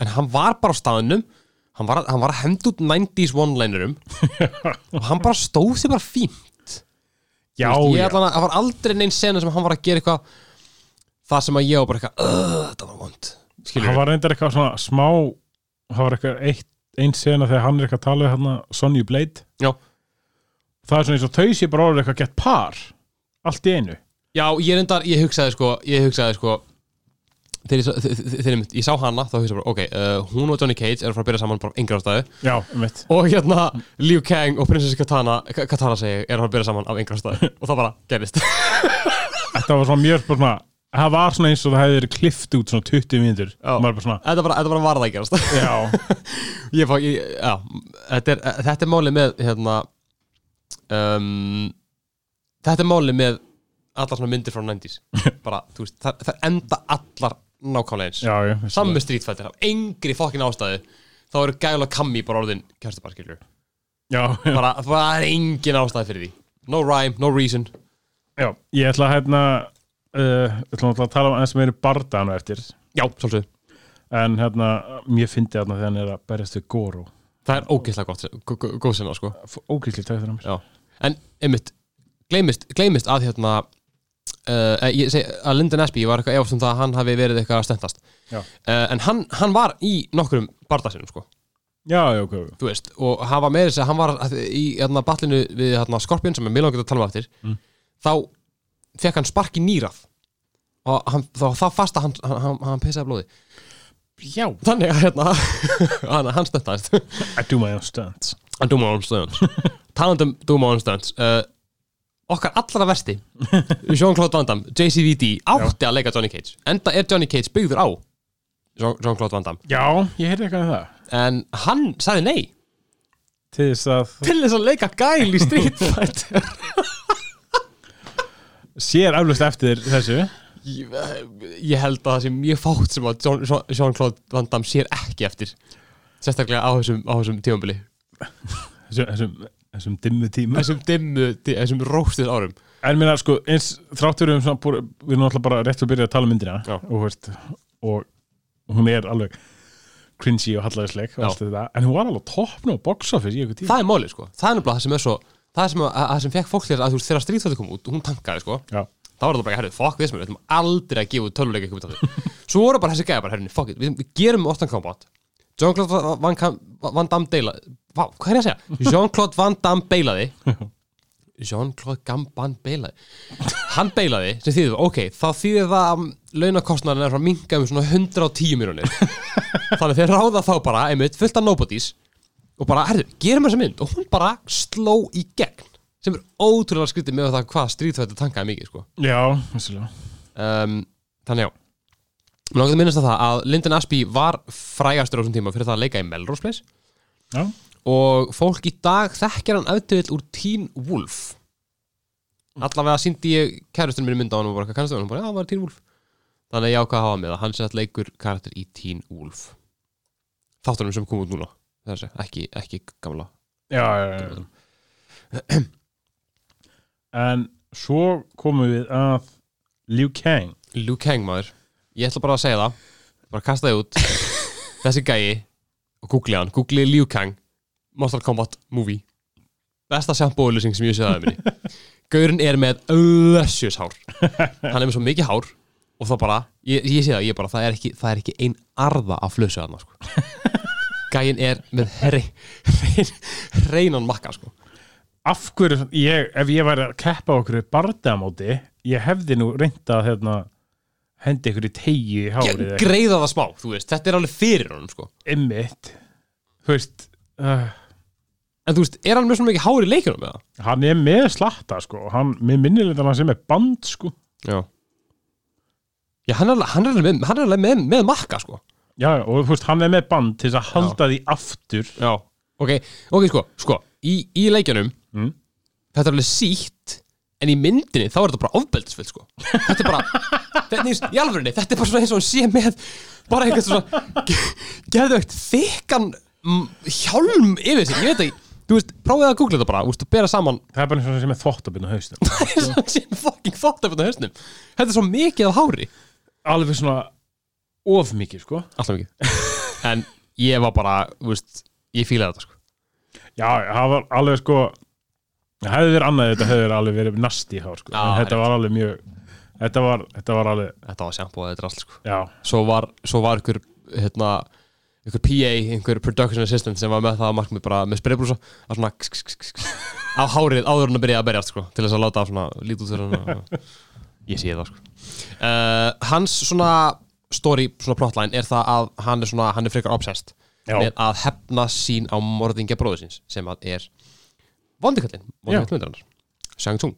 [SPEAKER 1] en hann var bara á staðnum hann var, að- hann var að henda út 90s one-linerum og hann bara stóð sér bara fín
[SPEAKER 2] já,
[SPEAKER 1] Þú veist, ég
[SPEAKER 2] já,
[SPEAKER 1] allan að, það var aldrei neinn sena sem hann var að gera eitthvað það sem að ég var bara eitthvað "Ugh, þetta var vond skilur
[SPEAKER 2] hann var reyndar eitthvað svona smá hann var eitthvað eitt, einn sena þegar hann er eitthvað að tala við hérna Sonju Blade
[SPEAKER 1] Já.
[SPEAKER 2] það er svona eins og taus ég bara orðið eitthvað gett par allt í einu
[SPEAKER 1] Já, ég reyndar, ég hugsaði sko ég hugsaði sko þegar ég, sá- þ- þ- þegar ég- ég sá hana þá hugsaði ég bara, ok, uh, hún og Johnny Cage eru að fara að byrja saman bara engra ástæðu
[SPEAKER 2] já, mitt
[SPEAKER 1] og hérna Liu Kang og prinsessi Katana Ka- Katana segi, ég, eru að fara að byrja saman af engra ástæðu og það bara gerist
[SPEAKER 2] Þetta var svona mjög bara svona Það var svona eins og það hefði verið klift út svona 20 mínútur
[SPEAKER 1] Já.
[SPEAKER 2] Maður bara svona
[SPEAKER 1] þetta bara, þetta bara varða að gerast
[SPEAKER 2] Já,
[SPEAKER 1] ég fá, ég, já, þetta er, þetta er málið með hérna um, þetta er málið með allar svona myndir frá 90s bara, þú veist, það, það enda allar nákvæmlega eins
[SPEAKER 2] já, já
[SPEAKER 1] samme Street Fighter af engri fokkin ástæðu þá eru gæla kammi bara orðin kjærstupar skilur
[SPEAKER 2] Já, já,
[SPEAKER 1] bara það er engin ástæði fyrir því no rhyme, no reason
[SPEAKER 2] já Ég ætla að hérna uh, Ég ætla náttúrulega að tala um aðeins meiri barda hann eftir
[SPEAKER 1] já, svolítið
[SPEAKER 2] En hérna, mér fyndi þarna þegar hann er að berjast við Goro
[SPEAKER 1] það er ógeðslega gott gó- gó- góð sinna sko
[SPEAKER 2] Ógæsli tættur hann
[SPEAKER 1] já. en einmitt gleymist, gleymist að hérna uh, eh, ég segi að Lyndon Espy var eitthvað efast um það að hann hafi verið eitthvað að stendast
[SPEAKER 2] Já.
[SPEAKER 1] uh, en hann, hann var í nokkrum barðarsinum sko
[SPEAKER 2] Já, já, ok ok.
[SPEAKER 1] þú veist, og hann var meira þess að hann var að- í hérna, batlinu við hérna, Skorpion sem er mjög langt að tala um eftir
[SPEAKER 2] Mm.
[SPEAKER 1] þá fekk hann spark í nýrað og hann, þá, þá fast að hann, hann, hann, hann pissaði blóði
[SPEAKER 2] Já
[SPEAKER 1] þannig að hérna, hann, hann stöndast
[SPEAKER 2] I do my own stunts
[SPEAKER 1] hann dúma án stönds talandum dúma án stönds uh, okkar allra versti Jean-Claude Van Damme, JCVD átti að leika Johnny Cage, enda er Johnny Cage byggður á Jean- Jean-Claude Van Damme
[SPEAKER 2] Já, ég heyrði eitthvað um það
[SPEAKER 1] en hann sagði nei
[SPEAKER 2] Til þess að
[SPEAKER 1] til þess að leika gæl í Street Fighter
[SPEAKER 2] sér aflust eftir þessu
[SPEAKER 1] Ég ég held að það sé mjög fátt sem að John- Jean- Jean-Claude Van Damme sér ekki eftir sérstaklega á þessum, á þessum tímabili
[SPEAKER 2] Þessum, þessum, þessum dimmu tíma
[SPEAKER 1] þessum dimmu, di- þessum róstuð árum
[SPEAKER 2] En minna, sko, eins þráttur um svona, búið- við erum alltaf bara rétt að byrja að tala um myndina
[SPEAKER 1] Já.
[SPEAKER 2] og, þú veist, og hún er alveg cringy og hallæðisleg og
[SPEAKER 1] Já.
[SPEAKER 2] allt þetta, en hún var alveg toppn og box office í ykkur tíma.
[SPEAKER 1] það er málið sko, það er nefnilega það sem er svo það er sem að, að, að sem fekk fólk til að þú veist þegar Street Fighter kom út, hún tankaði sko
[SPEAKER 2] Já,
[SPEAKER 1] þá var það bara, herru, fuck við sem við ætlum aldrei að gefa út tölvuleika ekki út af því svo voru bara þessi gæði bara, herru, fuck it, við, við gerum oftan combat Jean-Claude Van, Van, Van Damme deila Vá, hvað er ég að segja? Jean-Claude Van Damme beilaði Jean-Claude Gamban beilaði hann beilaði, sem þýðir, ok, þá þýðir það að launakostnarinn er að minga um svona 110 miljonir þannig þeir ráða þá bara, einmitt, fullt af nobodies og bara, herru, gerum þessa mynd og hún bara sló í gegn sem er ótrúlega skrítið með það hvað strítfættu tankaði mikið, sko
[SPEAKER 2] já, vissulega.
[SPEAKER 1] um, Þannig já Mér langar að minnast að það að Lyndon Ashby var frægastur á þessum tíma fyrir það að leika í Melrose Place
[SPEAKER 2] Já,
[SPEAKER 1] og fólk í dag þekkir hann auðvitað úr Teen Wolf allavega síndi ég kærustunum minni mynda á hann og bara hvað kannast það, hann bara, já, hann var Teen Wolf þannig að ég ákvað að hafa með það, hann sem sagt leikur karakter í Teen Wolf þáttunum sem kom út núna það er að segja, ekki, ekki gamla
[SPEAKER 2] já, já, já, já. En svo komum við að Liu Kang
[SPEAKER 1] Liu Kang maður, ég ætla bara að segja það bara kasta það út þessi gæi og googli hann googli Liu Kang, Mortal Kombat movie besta sjampóðlýsing sem ég séð að minni Gaurinn er með össjus hár hann er með svo mikið hár og það bara, ég, ég sé það, ég bara það er ekki, það er ekki ein arða af flösu hann sko. gæin er með hrein, hrein, hreinan makka sko.
[SPEAKER 2] Af hverju, ég, ef ég væri að keppa á okkur bardamóti, ég hefði nú reynda að hérna, hendi ykkur í tegi í hárið eða
[SPEAKER 1] greiða það smá, þú veist, þetta er alveg fyrir honum sko.
[SPEAKER 2] einmitt þú veist uh,
[SPEAKER 1] en þú veist, er hann með svona mikið hár í leikunum með það?
[SPEAKER 2] hann er með slatta sko hann, mér minnilegt að hann sem er band sko
[SPEAKER 1] Já Já, hann er, alveg- hann er, alveg með, hann er alveg með, með makka, sko
[SPEAKER 2] já, já, og þú veist, hann er með band til þess að halda því aftur
[SPEAKER 1] Já Ok, ok, sko, sko Í, í leikjanum
[SPEAKER 2] Mm.
[SPEAKER 1] Þetta er alveg sítt En í myndinni, þá er þetta bara ofbeldisvill, sko Þetta er bara þetta, er- Í alvörinni, þetta er bara svona eins og hann sé með Bara einhvern svona ge- Geðveikt þykkan mm, Hjálm yfir sig, ég veit ekki Þú veist, prófið að googla þetta bara, þú veist, að bera saman
[SPEAKER 2] það er bara eins og hann sem er þvottabinn á haustum
[SPEAKER 1] eins og hann sé með fucking þóttafinn á höstnum Þetta er svo mikið af hári
[SPEAKER 2] alveg svona of mikið sko
[SPEAKER 1] Alltaf mikið En ég var bara, þú veist, ég fílaði þetta sko
[SPEAKER 2] já, það var alveg sko það hefði verið annað þetta hefði verið alveg verið nasti hár sko,
[SPEAKER 1] Já,
[SPEAKER 2] en þetta
[SPEAKER 1] rétt.
[SPEAKER 2] var alveg mjög þetta var, þetta var alveg,
[SPEAKER 1] Þetta var sjampo og þetta drasl sko
[SPEAKER 2] já
[SPEAKER 1] Svo var, svo var ykkur, hérna ykkur PA, ykkur production assistant sem var með það að markmið bara með spreybrúsa að svona kss, kss, kss, kss, á hárið áður en að byrja að berjast sko til þess að láta svona lít út þegar hann ég sé það sko uh, Hans svona story, svona plotline er það að hann er svona, hann er frekar obsessed
[SPEAKER 2] Já.
[SPEAKER 1] með að hefna sín á morðingja bróður síns sem að er vondikallinn, vondikall myndarinnar Shang Tsung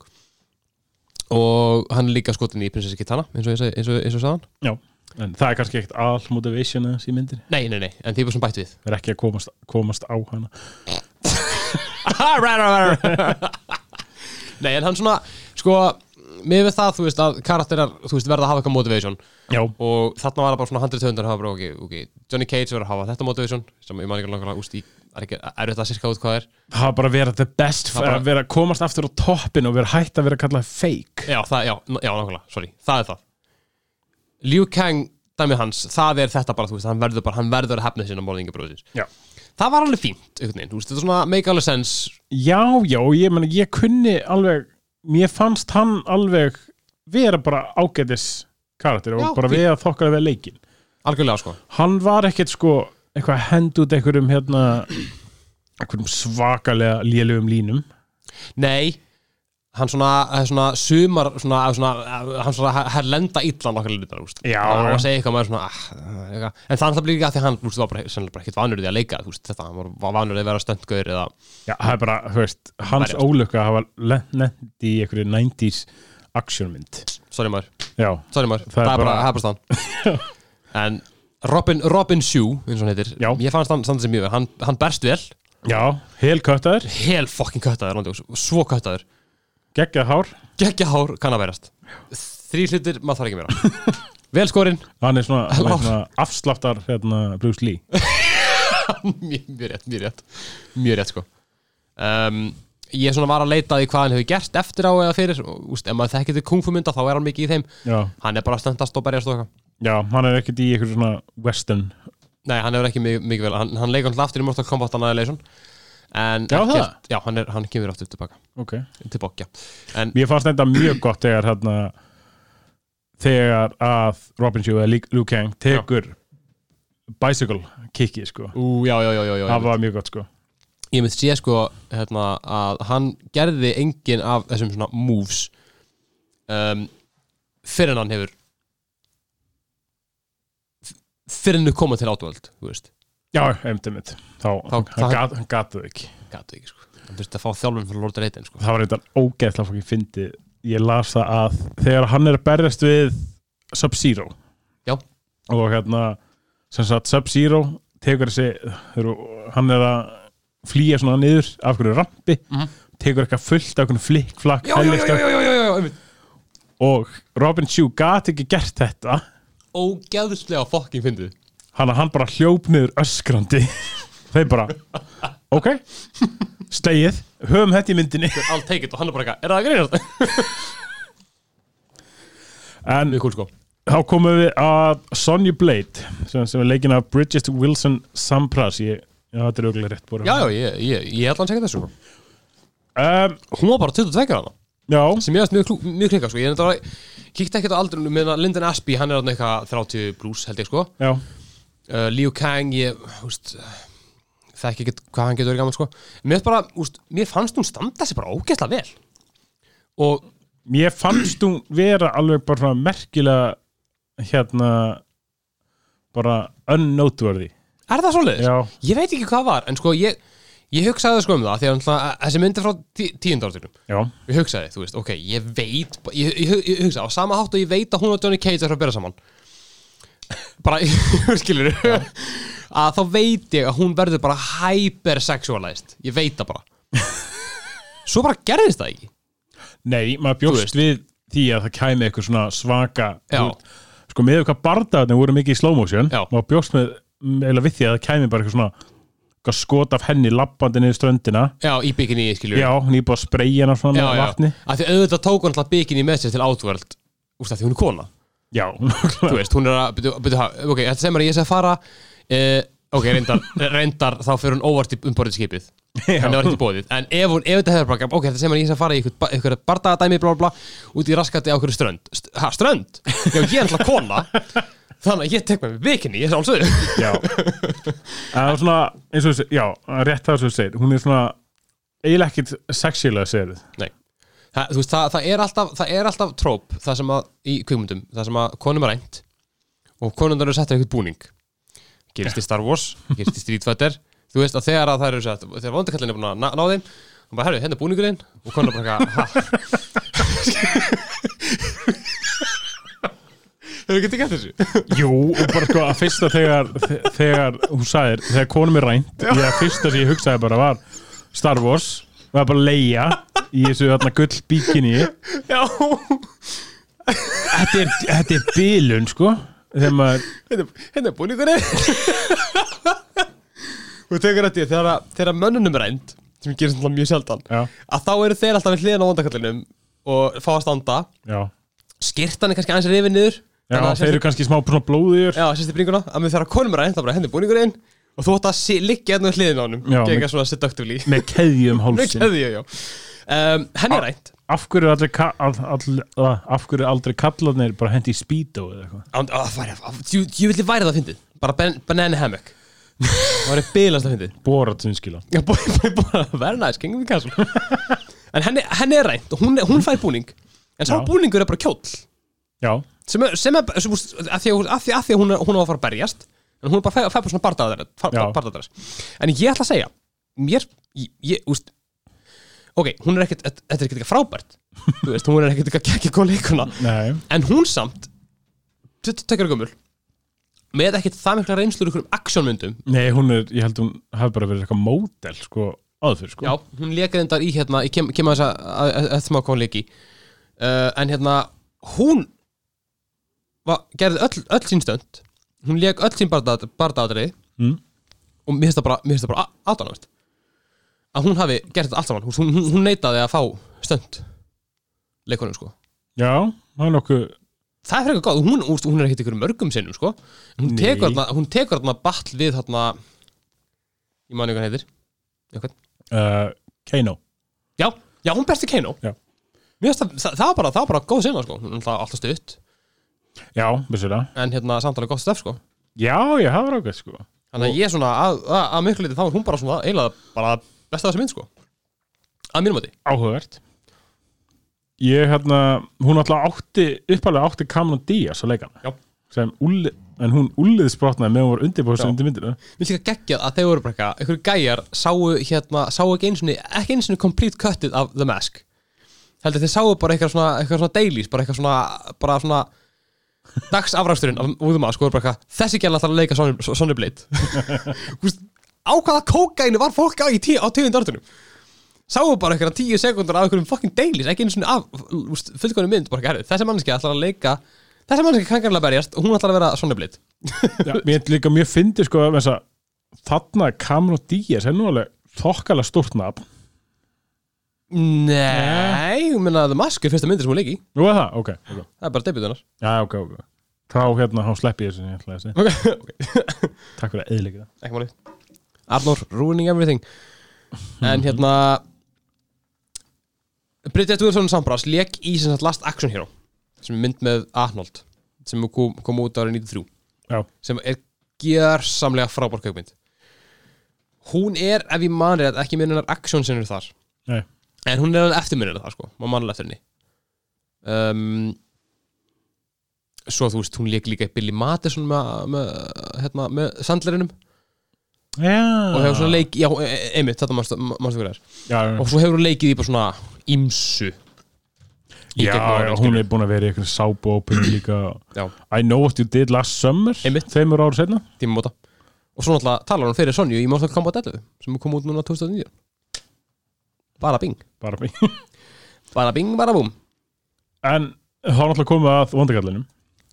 [SPEAKER 1] og hann er líka skotin í prinsessi Kitana eins og ég segi- eins og- eins og ég sagði hann
[SPEAKER 2] Já, en það er kannski ekkert all motivation aðeins í myndinni.
[SPEAKER 1] Nei, nei, nei, en þið var sem bætt við
[SPEAKER 2] Það er ekki að komast, komast á hana.
[SPEAKER 1] Nei, en hann svona, sko Mér við það, þú veist, að karakterar Þú veist, verða að hafa eitthvað motivation
[SPEAKER 2] Já,
[SPEAKER 1] Og þarna var það bara svona 100 höndar að hafa bara, ok, ok Johnny Cage verður að hafa þetta motivation Sem ég man ekki langar að úst í Er ekki, er þetta sirka út hvað er
[SPEAKER 2] það var bara að vera the best,
[SPEAKER 1] Það bara-
[SPEAKER 2] að vera að komast aftur á toppin og vera hætt að vera kallað fake.
[SPEAKER 1] Já, það, já, n- já, nákvæmlega, sorry, það er það Liu Kang, dæmið hans Það er þetta bara, þú veist, hann verður bara Hann verður að hefna sinna morðingabróðsins
[SPEAKER 2] Já.
[SPEAKER 1] Það var alveg fínt, einhvern veginn, þú veist, þetta er svona Make alveg sense,
[SPEAKER 2] Já, já, og ég meni, ég kunni alveg, mér fannst hann alveg vera bara ágætis karakter og
[SPEAKER 1] Já,
[SPEAKER 2] bara
[SPEAKER 1] fín.
[SPEAKER 2] við að þokkara við leikinn.
[SPEAKER 1] algjörlega, sko
[SPEAKER 2] Hann var ekkert sko eitthvað að henda út einhverjum hérna, einhverjum svakalega lélugum línum.
[SPEAKER 1] Nei Hann svona, það er svona sumar svona, svona, hann svona, hann lenda illa nokkar litar, úst.
[SPEAKER 2] Já,
[SPEAKER 1] og
[SPEAKER 2] já.
[SPEAKER 1] að segja eitthvað maður svona ah, eitthvað. en það er það líka af því að hann úst, var bara, sennilega bara ekkert vanur í því að leika úst, þetta, hann var, var vanur í að vera stöndgöður eða,
[SPEAKER 2] Já, það er bara, þú veist, hans
[SPEAKER 1] Verjast.
[SPEAKER 2] ólöka hafa lent í einhverju 90s actionmynd.
[SPEAKER 1] sorry maður,
[SPEAKER 2] Já,
[SPEAKER 1] sorry maður
[SPEAKER 2] Það
[SPEAKER 1] það,
[SPEAKER 2] er
[SPEAKER 1] er bara,
[SPEAKER 2] bara-
[SPEAKER 1] það er bara staðan en Robin, Robin Shue, eins og hann heitir
[SPEAKER 2] Já.
[SPEAKER 1] ég fannst hann samt sem mjög vel, hann, hann berst vel
[SPEAKER 2] já, helköttaður,
[SPEAKER 1] hel fucking köttaður, landjós, svo köttaður
[SPEAKER 2] geggjað hár,
[SPEAKER 1] geggja hár, kann að berast þrý hlutir, maður þarf ekki meira vel skorinn,
[SPEAKER 2] hann er svona, hann
[SPEAKER 1] Lár.
[SPEAKER 2] er svona afsláttar hérna Bruce Lee.
[SPEAKER 1] mjög, mjög rétt, mjög rétt mjög rétt sko um, ég svona var að leita að því hvað hann hefur gert eftir á eða fyrir, og, úst, ef maður þekkir þau kungfumynda þá er hann mikið í þeim,
[SPEAKER 2] Já,
[SPEAKER 1] hann er bara að stendast og berjast og eitthvað,
[SPEAKER 2] já, hann er ekkert í einhverju svona western.
[SPEAKER 1] nei hann hefur ekki mikið, mikið vel, hann, hann leikur hann aftur í Mortal Kombat Annihilation en
[SPEAKER 2] Já, það?
[SPEAKER 1] já, hann, er, hann kemur aftur tilbaka
[SPEAKER 2] Ok.
[SPEAKER 1] til bókja, en
[SPEAKER 2] Mér fannst þetta mjög gott þegar hérna, þegar að Robin Shue eða Lee- Liu Kang tekur bicycle kikið, sko.
[SPEAKER 1] ú, já, já, já, já, já,
[SPEAKER 2] Það
[SPEAKER 1] já.
[SPEAKER 2] var mjög gott, sko.
[SPEAKER 1] ég mynd sé sko hérna, að hann gerði engin af þessum svona moves um, fyrir en hann hefur f- fyrir en þau koma til átvöld þú veist,
[SPEAKER 2] Já, einmitt, einmitt. Þá,
[SPEAKER 1] Þá-
[SPEAKER 2] hann,
[SPEAKER 1] það-
[SPEAKER 2] gat, hann gat það ekki.
[SPEAKER 1] gætu ekki sko hann þurfti að fá þjálfum fyrir Lord Reiten sko
[SPEAKER 2] það var eitthvað ógeðslega fokkið fyndi ég las það að þegar hann er að berjast við Sub-Zero
[SPEAKER 1] Já.
[SPEAKER 2] og hérna sem sagt Sub-Zero tekur þessi þegar hann er að flýja svona niður af hverju rampi
[SPEAKER 1] Mhm.
[SPEAKER 2] tekur eitthvað fullt af einhvern flikk-flakk
[SPEAKER 1] já, já, já, já,
[SPEAKER 2] hellistökk
[SPEAKER 1] já, já, já, já, einmitt.
[SPEAKER 2] og Robin Shue gat ekki gert þetta
[SPEAKER 1] ógeðslega fokking fyndið
[SPEAKER 2] hann að hann bara hljóp niður öskrandi þeir bara ok, slegið höfum þetta í myndinni
[SPEAKER 1] I'll take it og hann er bara eitthvað, er það að greinast?
[SPEAKER 2] en
[SPEAKER 1] Mjög cool sko
[SPEAKER 2] þá komum við að Sonny Blade sem, sem er leikin af Bridget Wilson Sampras ég, já, þetta er auðvitað rétt borið
[SPEAKER 1] Já, já, ég, ég, ég ætla hann segja þessu
[SPEAKER 2] um,
[SPEAKER 1] Hún var bara 22 ára
[SPEAKER 2] já,
[SPEAKER 1] sem ég veist mjög, klú- mjög klika sko Ég er þetta, kíkti ekkert á aldrunum meðan að Lyndon Asby, hann er hann eitthvað 30 plus held ég sko
[SPEAKER 2] já,
[SPEAKER 1] uh, Liu Kang, ég, húst þekki ekkert hvað hann getur verið gaman sko Mér, finnst bara, húst, mér fannst hún standa sér bara ógeðslega vel og
[SPEAKER 2] mér fannst hún vera alveg bara svona merkilega hérna bara unnoteworthy
[SPEAKER 1] er það svoleiðis?
[SPEAKER 2] já,
[SPEAKER 1] Ég veit ekki hvað var, en sko ég, ég hugsaði sko um það því að náttúrulega, þessi myndi frá tí, tíundartunum
[SPEAKER 2] já,
[SPEAKER 1] Ég hugsaði, þú veist, ok, ég veit Ég, ég, ég, ég hugsaði, á sama hátt og ég veit að hún og Johnny Cage er frá að bera saman Bara, skilur Að þá veit ég að hún verður bara hypersexualized Ég veit það bara Svo bara gerðist það ekki
[SPEAKER 2] nei, maður bjóst við því að það kæmi eitthvað svona svaka
[SPEAKER 1] Já.
[SPEAKER 2] þú veist, sko með eitthvað bardaðni voru mikið í slow motion
[SPEAKER 1] Já.
[SPEAKER 2] maður bjóst með, eða við því að það kæmi bara eitthvað svona eitthvað skot af henni lappandi niður ströndina
[SPEAKER 1] Já, í bikini, skilur
[SPEAKER 2] já, hún er búin að spreyja hana svona með vatni
[SPEAKER 1] Af því auðvitað tók hún alltaf bikini með sér til átvöld Úst, af því hún er kona
[SPEAKER 2] já,
[SPEAKER 1] Þú veist, hún er að, byrju, byrju, ha, ok, þetta sem er að ég sé að fara uh, Ok, reyndar, reyndar, þá fyrir hún óvart í umborðið skipið henni var
[SPEAKER 2] já,
[SPEAKER 1] ekki bóðið en ef, hún, ef þetta hefur bara ok, þetta sem er ég sem fara í ykkur, ykkur bardagadæmi bla, bla, bla, út í raskati á hverju strönd St ha, strönd? Já, ég er alltaf kona þannig að ég tek með mig vikinni ég sálsöðu
[SPEAKER 2] já. það var svona eins og þessi, já, rétt það sem þú segir hún er svona eiginlega ekkit sexílega segir
[SPEAKER 1] Nei. það, þú veist, það, það, er alltaf, það er alltaf tróp það sem að, í kvikmyndum, það sem að konum er rænt og konundar eru settir eitthvað búning gerist í Star Wars gerist í Street Fighter, þú veist að þegar að það eru sett, þegar vondakallin er búin að ná, ná þeim og bara, herru, hérna er búningurinn og konar bara eitthvað ha? hefur ekki gett þessu?
[SPEAKER 2] Jú, og bara sko að fyrsta þegar þe- þegar hún sagðir, þegar konum er rænt ég að fyrsta sem ég hugsaði bara var Star Wars, var bara leia í þessu þarna gull bíkinni
[SPEAKER 1] já,
[SPEAKER 2] þetta er, þetta er bilun sko þegar maður,
[SPEAKER 1] hérna, hérna er búningurinn og tekur þetta í þegar, að- þegar mönnunum er rænt sem gerist náttúrulega mjög sjaldan
[SPEAKER 2] já,
[SPEAKER 1] að þá eru þeir alltaf við hliðin á vondakallinum og fá að standa
[SPEAKER 2] já
[SPEAKER 1] skirtan er kannski aðeins rifið niður
[SPEAKER 2] já,
[SPEAKER 1] þannig að
[SPEAKER 2] þeir eru kannski smá svona blóðiður
[SPEAKER 1] já, sérstu bringuna að mér þarf að konum ræðin, það bara henni búningur einn og þú ætti að sí, liggja hérna við hliðin á honum
[SPEAKER 2] Já,
[SPEAKER 1] gegn að svona seductively
[SPEAKER 2] með Ah. keðjum
[SPEAKER 1] Mjög
[SPEAKER 2] hálsin
[SPEAKER 1] keði ég, já um, henni er rænt
[SPEAKER 2] af hverju er aldrei, ka- all, all, uh, af hverju er aldrei kallarnir bara hendi í speedo eða eitthvað
[SPEAKER 1] Án- á, það væri- á, djú- djúvillig væri það að fyndið bara ben, banana hammock það væri bilast að fyndið
[SPEAKER 2] borat sem skila
[SPEAKER 1] Já, búi, búi, búi, very nice, King of the Castle en henni, henni er rænt og hún, hún fær búning en sá
[SPEAKER 2] Já.
[SPEAKER 1] búningur er bara kjóll
[SPEAKER 2] já,
[SPEAKER 1] sem er, sem er sem, úst, að því að, að, því, að því að hún, er- hún á að fara að berjast en hún er bara að fæða svona
[SPEAKER 2] Já.
[SPEAKER 1] bardaðar en ég ætla að segja mér, ég, ég úst, ok, hún er ekkert, þetta þetta er ekkert eitthvað frábært þú veist, hún er ekkert eitthvað ekki góð leikuna
[SPEAKER 2] nei,
[SPEAKER 1] en hún samt 22 gömul með ekkert það mikla reynslur ykkur um aksjónmyndum
[SPEAKER 2] nei, hún er ég held hún hafi bara verið eitthvað módel sko, aðfyr sko
[SPEAKER 1] já, hún leikir þetta í hérna ég kem, kem að þess að- að að- að smá kón leiki uh, en hérna hún var, gerði öll, öll sín stönd hún leik öll sín bardaðatriði
[SPEAKER 2] Mm.
[SPEAKER 1] og mér finnst það bara, mér finnst það bara aðdánavert að hún hafi gert þetta allt saman hún, hún, hún neitaði að fá stönd leikunum sko
[SPEAKER 2] Já, það er nokkuð
[SPEAKER 1] það er frekar góð, hún, hún, hún er ekkert ykkur mörgum sinnum sko. En hún
[SPEAKER 2] Nei.
[SPEAKER 1] tekur þarna, hún tekur þarna batl við þarna ég mani hvað hann heitir eitthvað
[SPEAKER 2] uh, Kano
[SPEAKER 1] Já, já, hún berst í Kano
[SPEAKER 2] Já.
[SPEAKER 1] Mér finnst það, það, það, var bara, það var bara góð sinna sko. Hún er alltaf- alltaf stutt
[SPEAKER 2] Já, vissir það
[SPEAKER 1] En hérna samtalið gott stöf sko.
[SPEAKER 2] Já, ég hafa rákað sko
[SPEAKER 1] Þannig að ég svona að, að, að miklu liti þá er hún bara svona eiginlega bara besta þessi mynd sko. Að mínum að
[SPEAKER 2] Áhugavert Ég hérna, hún alltaf átti uppalega átti Cameron Diaz að leika
[SPEAKER 1] Já.
[SPEAKER 2] hana sem Ulli, en hún Ullið sprotnaði meðan hún var undirbúið
[SPEAKER 1] Já.
[SPEAKER 2] sem undir myndina
[SPEAKER 1] Mér líka geggjað að þeir voru bara eitthvað einhverju gæjar sáu hérna sáu ekki einu sinni ekki einu sinni complete cutið af The Mask heldur þeir sáu bara eitthvað svona eitthvað svona dailies bara eitthvað svona bara svona dagsafræksturinn af úr The Mask og voru bara eitthvað þessi gæla ætlar að leika Sonny- Sonny Blade Þú veist, á hvaða kókainu var fólk á í tíu á tíu dörtunum sáu bara eitthvað tíu sekundur af einhverjum fucking dailies, ekki einu svona af fullkonu mynd, bara herri, þessi mannski ætlar að leika þessi mannski kangarlega berjast og hún ætlar að vera svona blitt
[SPEAKER 2] Já, mér er líka mjög fyndi sko að þarna Cameron Diaz er nú alveg þokkalega stórt nafn
[SPEAKER 1] Nei, ég meina The Mask er fyrsta myndin sem hún leiki
[SPEAKER 2] Nú er það, ok, ok
[SPEAKER 1] það er bara debutunar
[SPEAKER 2] Já, ok, ok Þá hérna, þá slepp ég þessu sem ég ætlaði að segja
[SPEAKER 1] okay, okay.
[SPEAKER 2] Takk fyrir að eðlika það
[SPEAKER 1] ekki máli Arnór, ruining everything en hérna Bridget Wilson Sambras leik í sem sagt Last Action Hero sem er mynd með Arnold sem kom, kom út árið 93
[SPEAKER 2] Já,
[SPEAKER 1] sem er gjörsamlega frábár kaupmynd hún er, ef ég man rétt, ekki minnunar action sem eru þar
[SPEAKER 2] nei,
[SPEAKER 1] en hún er alveg eftirminnilega þar sko, maður mannlega eftir henni um, svo þú veist, hún leik líka í Billy Madison með, með, hérna, með sandlerinum
[SPEAKER 2] já
[SPEAKER 1] og hefur
[SPEAKER 2] Ah.
[SPEAKER 1] svona leik, já, e- e- einmitt, þetta mannstu mannstu hver það er
[SPEAKER 2] Já, já,
[SPEAKER 1] og svo hefur hún leikið í bara svona ímsu í
[SPEAKER 2] já,
[SPEAKER 1] gegnum
[SPEAKER 2] já,
[SPEAKER 1] árin,
[SPEAKER 2] hún
[SPEAKER 1] skilur.
[SPEAKER 2] er búin að vera í eitthvað sábópin líka
[SPEAKER 1] Já.
[SPEAKER 2] I know what you did last summer
[SPEAKER 1] Einmitt.
[SPEAKER 2] Þeimur ára setna
[SPEAKER 1] tímamóta og svo náttúrulega talar hún fyrir Sonju í Mortal Kombat 11 sem kom út núna 2009 bara bing,
[SPEAKER 2] Bara mig
[SPEAKER 1] bara bing, bara búm
[SPEAKER 2] En þá er náttúrulega komið að vondakallinum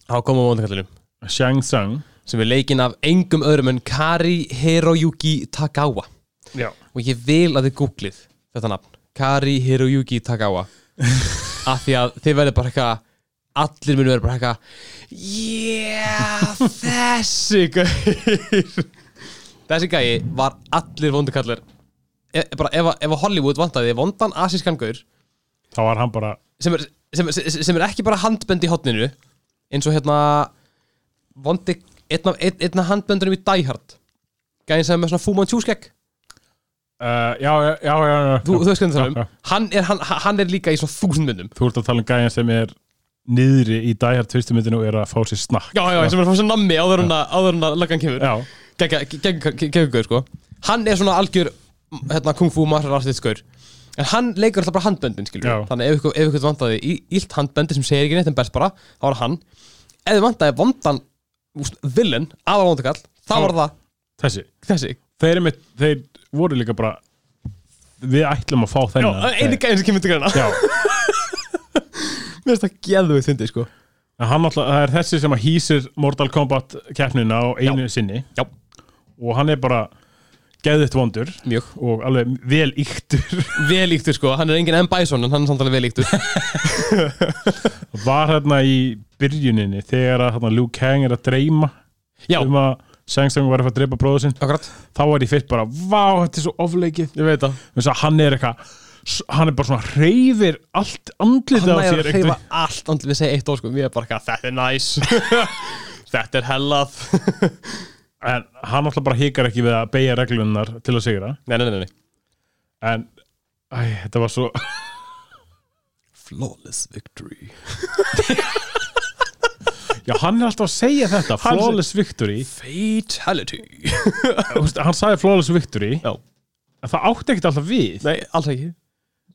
[SPEAKER 1] þá komum við vondakallunum
[SPEAKER 2] Shang Tsang
[SPEAKER 1] sem er leikinn af engum öðrum en Kari Hiroyuki Tagawa
[SPEAKER 2] Já
[SPEAKER 1] og ég vil að þið googlið þetta nafn Kari Hiroyuki Tagawa af því að þið verður bara eitthvað allir munu verður bara eitthvað yeah, þessi gauð þessi gæi var allir vondukallir e, bara ef, að- ef að Hollywood vantaði vondan asískan gaur
[SPEAKER 2] Þá var hann bara
[SPEAKER 1] sem er, sem, er- sem, sem er ekki bara handbend í hotninu eins og hérna vondi, einn af, einn, einn af handbendunum í Die Hard gæðin sem er með svona Fu Manchu skegg
[SPEAKER 2] Uh, já, já, já, já, já.
[SPEAKER 1] þú, þú veist hvernig það er um
[SPEAKER 2] Já, já.
[SPEAKER 1] hann er, hann, hann er líka í svona þúsund myndum
[SPEAKER 2] Þú ert að tala um gæjan sem er niðri í dæjar tvistumyndinu og er að fá sér snakk
[SPEAKER 1] já, já, sem er að fá sér nammi áður en að áður en að löggan kemur
[SPEAKER 2] Já,
[SPEAKER 1] geggjaugur sko hann er svona algjör m, hérna kung fu marrar artist gaur en hann leikur alltaf bara handböndin skilur
[SPEAKER 2] Já.
[SPEAKER 1] við. þannig ef ykkur, ef ykkur vantaði í, illt handböndi sem segir ekki neitt en berst bara þá var það hann ef þið vantaði vondan úst, villen aðal vondakall þá
[SPEAKER 2] Já.
[SPEAKER 1] var það
[SPEAKER 2] þessi
[SPEAKER 1] þessi
[SPEAKER 2] þeir, einmitt, þeir voru líka bara Við ætlum að fá
[SPEAKER 1] já,
[SPEAKER 2] þennan
[SPEAKER 1] eini gæðin sem kemur til greina
[SPEAKER 2] Já,
[SPEAKER 1] mér finnst það geðu við þundi sko
[SPEAKER 2] en hann alltaf, það er þessi sem að hýsir Mortal Kombat keppnina á einu sinni
[SPEAKER 1] já,
[SPEAKER 2] og hann er bara geðitt vondur
[SPEAKER 1] mjög
[SPEAKER 2] og alveg vel yktur
[SPEAKER 1] velíktur sko hann er engin M. Bison en hann er samtalið velíktur
[SPEAKER 2] var hérna í byrjuninni þegar að hérna, Liu Kang er að dreyma
[SPEAKER 1] já,
[SPEAKER 2] um að Shang Tsang var að fara að dreypa bróðu sinn
[SPEAKER 1] akkurat
[SPEAKER 2] þá var ég fyrst bara, vá, þetta er svo ofleikið
[SPEAKER 1] ég veit það
[SPEAKER 2] Þess að hann er eitthvað s- hann er bara svona reyfir allt andlið
[SPEAKER 1] hann næður að
[SPEAKER 2] einhvern
[SPEAKER 1] hreyfa
[SPEAKER 2] veginn.
[SPEAKER 1] allt andlið við segja eitt orð sko, mér er bara eitthvað, þetta er næs þetta er hellað
[SPEAKER 2] en hann alltaf bara hikar ekki við að beigja reglunnar til að sigra
[SPEAKER 1] nei, nei, nei, nei,
[SPEAKER 2] en æ, þetta var svo
[SPEAKER 1] flawless victory
[SPEAKER 2] já, hann er alltaf að segja þetta
[SPEAKER 1] Hann-
[SPEAKER 2] flawless victory
[SPEAKER 1] fatality
[SPEAKER 2] Þú veist, hann sagði flawless victory
[SPEAKER 1] já,
[SPEAKER 2] en það átti ekkert alltaf við
[SPEAKER 1] nei, alls ekki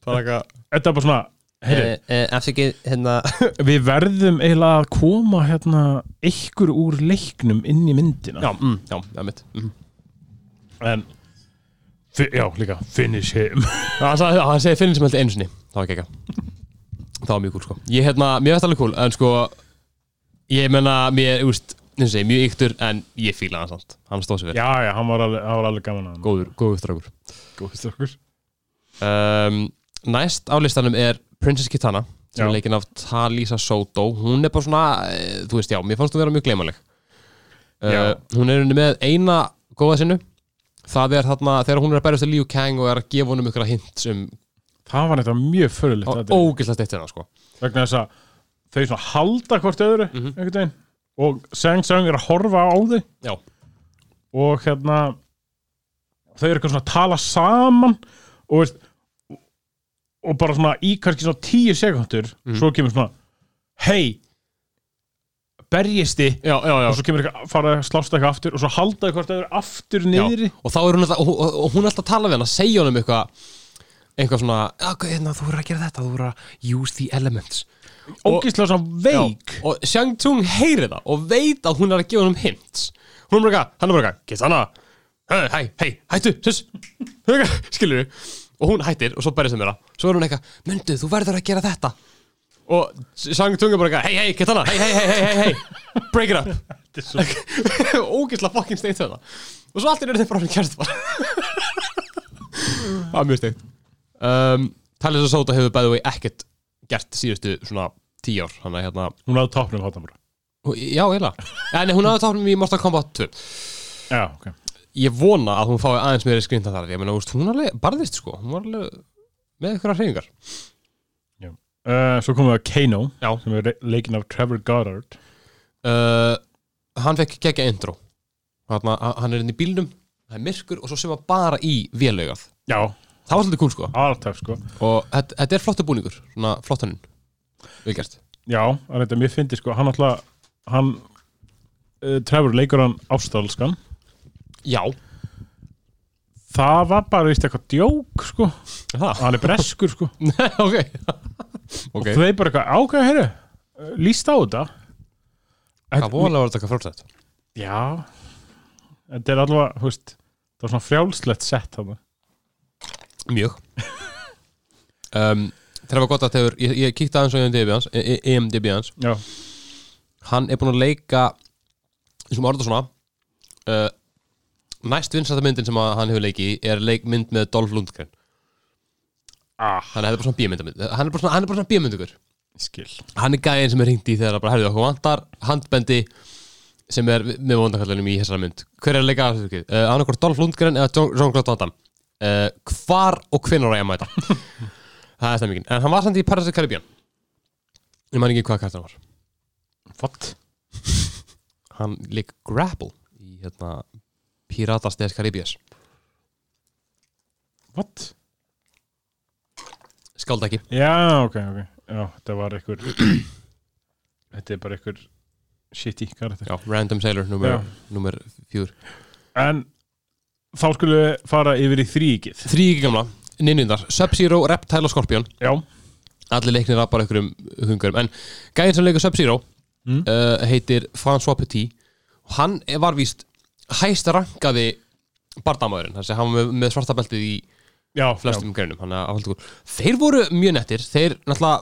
[SPEAKER 1] bara eitthvað
[SPEAKER 2] þetta er bara svona heyri,
[SPEAKER 1] Eh, afsakið, hérna
[SPEAKER 2] við verðum eiginlega að koma hérna ykkur úr leiknum inn í myndina
[SPEAKER 1] já, mm, já, það er mitt mm.
[SPEAKER 2] en fi- já, líka finish him
[SPEAKER 1] hann, sagði, hann segi finnir sem heldur einu sinni það var ekki ekki það var mjög cool sko ég hérna, mér veist alveg cool, en sko ég menna, mér, úst, eins og segi, mjög yktur en ég fíla hann samt, hann stóð sér verið
[SPEAKER 2] já, já, hann var alveg, hann var alveg gaman að hann
[SPEAKER 1] góður, góður strákur
[SPEAKER 2] góð stokkur
[SPEAKER 1] um, Næst á listanum er Princess Kitana sem
[SPEAKER 2] Já.
[SPEAKER 1] er leikinn af Talisa Soto hún er bara svona, eh, þú veist já, mér fannst hún vera mjög gleymanleg uh,
[SPEAKER 2] Já.
[SPEAKER 1] hún er henni með eina góða sinu það er þarna, þegar hún er að berjast til Liu Kang og er að gefa honum ykkur hints um
[SPEAKER 2] Það var eitthvað mjög förulegt
[SPEAKER 1] ógæslega steitt hérna sko
[SPEAKER 2] vegna þess að þau svona halda hvort öðru einhvern veginn og Sang Sang er að horfa á þau
[SPEAKER 1] já,
[SPEAKER 2] og hérna þau eru eitthvað svona að tala saman og veist og bara svona í kannski svona tíu sekundur svo kemur svona hei berjisti
[SPEAKER 1] já, já, já.
[SPEAKER 2] og svo kemur eitthvað fara að slásta eitthvað aftur og svo halda þau hvort öðru aftur niðri
[SPEAKER 1] og þá er hún alltaf, og, hún- og, og hún er alltaf að tala við hann að segja honum eitthvað eitthvað svona, "Ah, ok, hérna, þú verður að gera þetta þú verður að use the elements
[SPEAKER 2] ógislega svona veik
[SPEAKER 1] Já, og Shang Tsung heyri það og veit að hún er að gefa honum hints hún er bara eitthvað, hann er bara eitthvað, kiss hana hei, hei, hættu, sus skilur við og hún hættir og svo berjast um þeirra svo er hún eitthvað, myndu, þú verður að gera þetta og sang tunga bara eitthvað hei, hei, Katana, hei, hei, hei, hei, hei break it up
[SPEAKER 2] Þetta er svo
[SPEAKER 1] ógisla fucking steikt þetta og svo allir eru þeim frá hann kjærst bara það er mjög steikt um, Talis og Sota hefur bæðið ekkert gert síðustu svona tíu ár hann að hérna,
[SPEAKER 2] Hún náðu toppnum þáttan bara
[SPEAKER 1] já, heila en hún aðeins tafnum í Mortal Kombat 2
[SPEAKER 2] Já, ok
[SPEAKER 1] ég vona að hún fái aðeins meiri skrindan þar ég meina, úst, hún alveg barðist sko hún var alveg með ykkur hreyfingar
[SPEAKER 2] uh, Svo komum við að Kano
[SPEAKER 1] Já.
[SPEAKER 2] Sem er leikinn af Trevor Goddard
[SPEAKER 1] uh, hann fekk gegja intro hann, hann er inn í bílnum það er myrkur og svo sem hann bara í vélaugað
[SPEAKER 2] Já,
[SPEAKER 1] það var svolítið kúl sko
[SPEAKER 2] alltaf sko
[SPEAKER 1] og þetta, þetta er flottu búningur svona flottaninn við gert
[SPEAKER 2] Já, að reynda mér fyndi sko Hann alltaf Hann uh, Trevor leikur hann ástralskan
[SPEAKER 1] já
[SPEAKER 2] Það var bara víst eitthvað djók sko
[SPEAKER 1] það
[SPEAKER 2] Hann er breskur sko
[SPEAKER 1] ok ok
[SPEAKER 2] Þau bara eitthvað ákveða herru uh, Líst á þetta
[SPEAKER 1] það voru að taka frálsætt
[SPEAKER 2] Já Þetta er allavega, þú veist Það var svona frjálslegt sett hann
[SPEAKER 1] mjög um, Trevor Goddard hefur ég, ég kíkti aðeins á IMDb hans, e- e- IMDb hans
[SPEAKER 2] Já,
[SPEAKER 1] hann er búinn að leika eins og maður orða svona uh, næst vinsæta myndin sem að hann hefur leikið í er leikmynd með Dolph Lundgren
[SPEAKER 2] ah,
[SPEAKER 1] hann er bara svona bímyndamynd hann er bara svona, hann er bara svona bímyndugur
[SPEAKER 2] skil
[SPEAKER 1] hann er gæðin sem er hringt í þegar að bara herðu okkur vantar handbendi sem er með vondakallinum í þessari mynd hver er að leika aðeins uh, hann okkur Dolph Lundgren eða John John Claude Van Damme uh, hvar og hvenær á ég að mæta það er stemmingin en hann var samt í Paris of Caribbean ég man ekki hvað kast hann var
[SPEAKER 2] What?
[SPEAKER 1] hann leik Grapple í hérna Piratas des Karibías
[SPEAKER 2] What?
[SPEAKER 1] skáld ekki
[SPEAKER 2] Já, ok, ok Já, þetta var einhver Þetta er bara einhver shitty karakter
[SPEAKER 1] Já, Random Sailor
[SPEAKER 2] Já.
[SPEAKER 1] nummer, nummer fjúr
[SPEAKER 2] En þá skulum við fara yfir í þríkið
[SPEAKER 1] þrýgi gamla ninjundar Sub-Zero, Reptile og Scorpion
[SPEAKER 2] Já,
[SPEAKER 1] allir leiknir að bara einhverjum hungurum en gæðin sem leikur Sub-Zero
[SPEAKER 2] Mm.
[SPEAKER 1] uh, heitir François Petit og hann var víst hæst rankaði barndamaðurinn þannig að hann var með, með svarta beltið í
[SPEAKER 2] já,
[SPEAKER 1] flestum greinum hann að halda góð þeir voru mjög nettir, þeir náttúrulega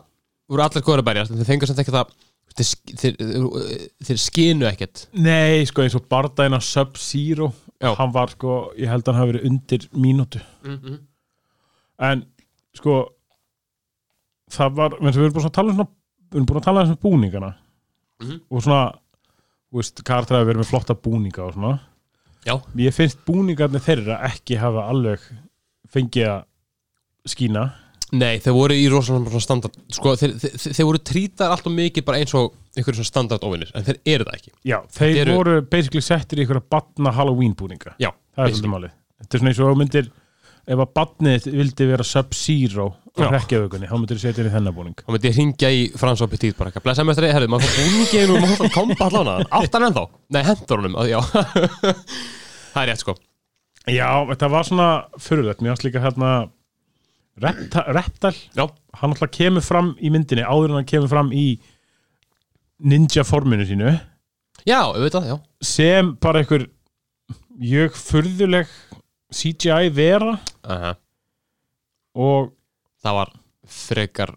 [SPEAKER 1] voru allir góður að berjast en þeir fengur samt ekkert að þeir, sk- þeir, þeir, þeir skinu ekkert
[SPEAKER 2] já Nei, sko eins og bardaðina Sub-Zero
[SPEAKER 1] Já.
[SPEAKER 2] Hann var sko, ég held að hann hafi verið undir mínútu
[SPEAKER 1] mm
[SPEAKER 2] Mhm.
[SPEAKER 1] -hmm.
[SPEAKER 2] En sko Það var, menn sem við erum búin að tala um svona, Við erum búin að tala um svona búningana
[SPEAKER 1] Mhm.
[SPEAKER 2] Og svona Þú veist, karakter hafi verið með flotta búninga og svona
[SPEAKER 1] já,
[SPEAKER 2] Ég finnst búningarnir þeirra ekki hafa alveg fengið að skína
[SPEAKER 1] Nei, þeir voru í rosalega svona standard sko, þeir, þeir, þeir- þeir voru trítar alltaf mikið bara eins og einhverjum svona standard óvinnir en þeir eru það ekki
[SPEAKER 2] Já, þeir
[SPEAKER 1] eru-
[SPEAKER 2] voru basically settir í einhverja batna Halloween búninga
[SPEAKER 1] Já,
[SPEAKER 2] Það er svolítið málið Þetta er svona eins og þú myndir Ef að batnið þitt vildi vera Sub-Zero
[SPEAKER 1] Já.
[SPEAKER 2] á hrekkjavökunni, þá myndir þú setja inn í þennan búning
[SPEAKER 1] þá myndi ég hringja í Frans og Petit bara eitthvað blessa mestri, herrðu, maður fór búningin og maður fór kompa allan að áttan ennþá Nei, hendur honum, að, já Það er rétt sko
[SPEAKER 2] Já, þetta var svona fyrirlegt Mér ást líka hérna Repta- Reptal,
[SPEAKER 1] Já,
[SPEAKER 2] hann alltaf kemur fram í myndinni áður en hann kemur fram í ninja forminu sínu
[SPEAKER 1] já, auðvitað, já
[SPEAKER 2] sem bara einhver jög furðuleg CGI vera
[SPEAKER 1] uh
[SPEAKER 2] og
[SPEAKER 1] Það var frekar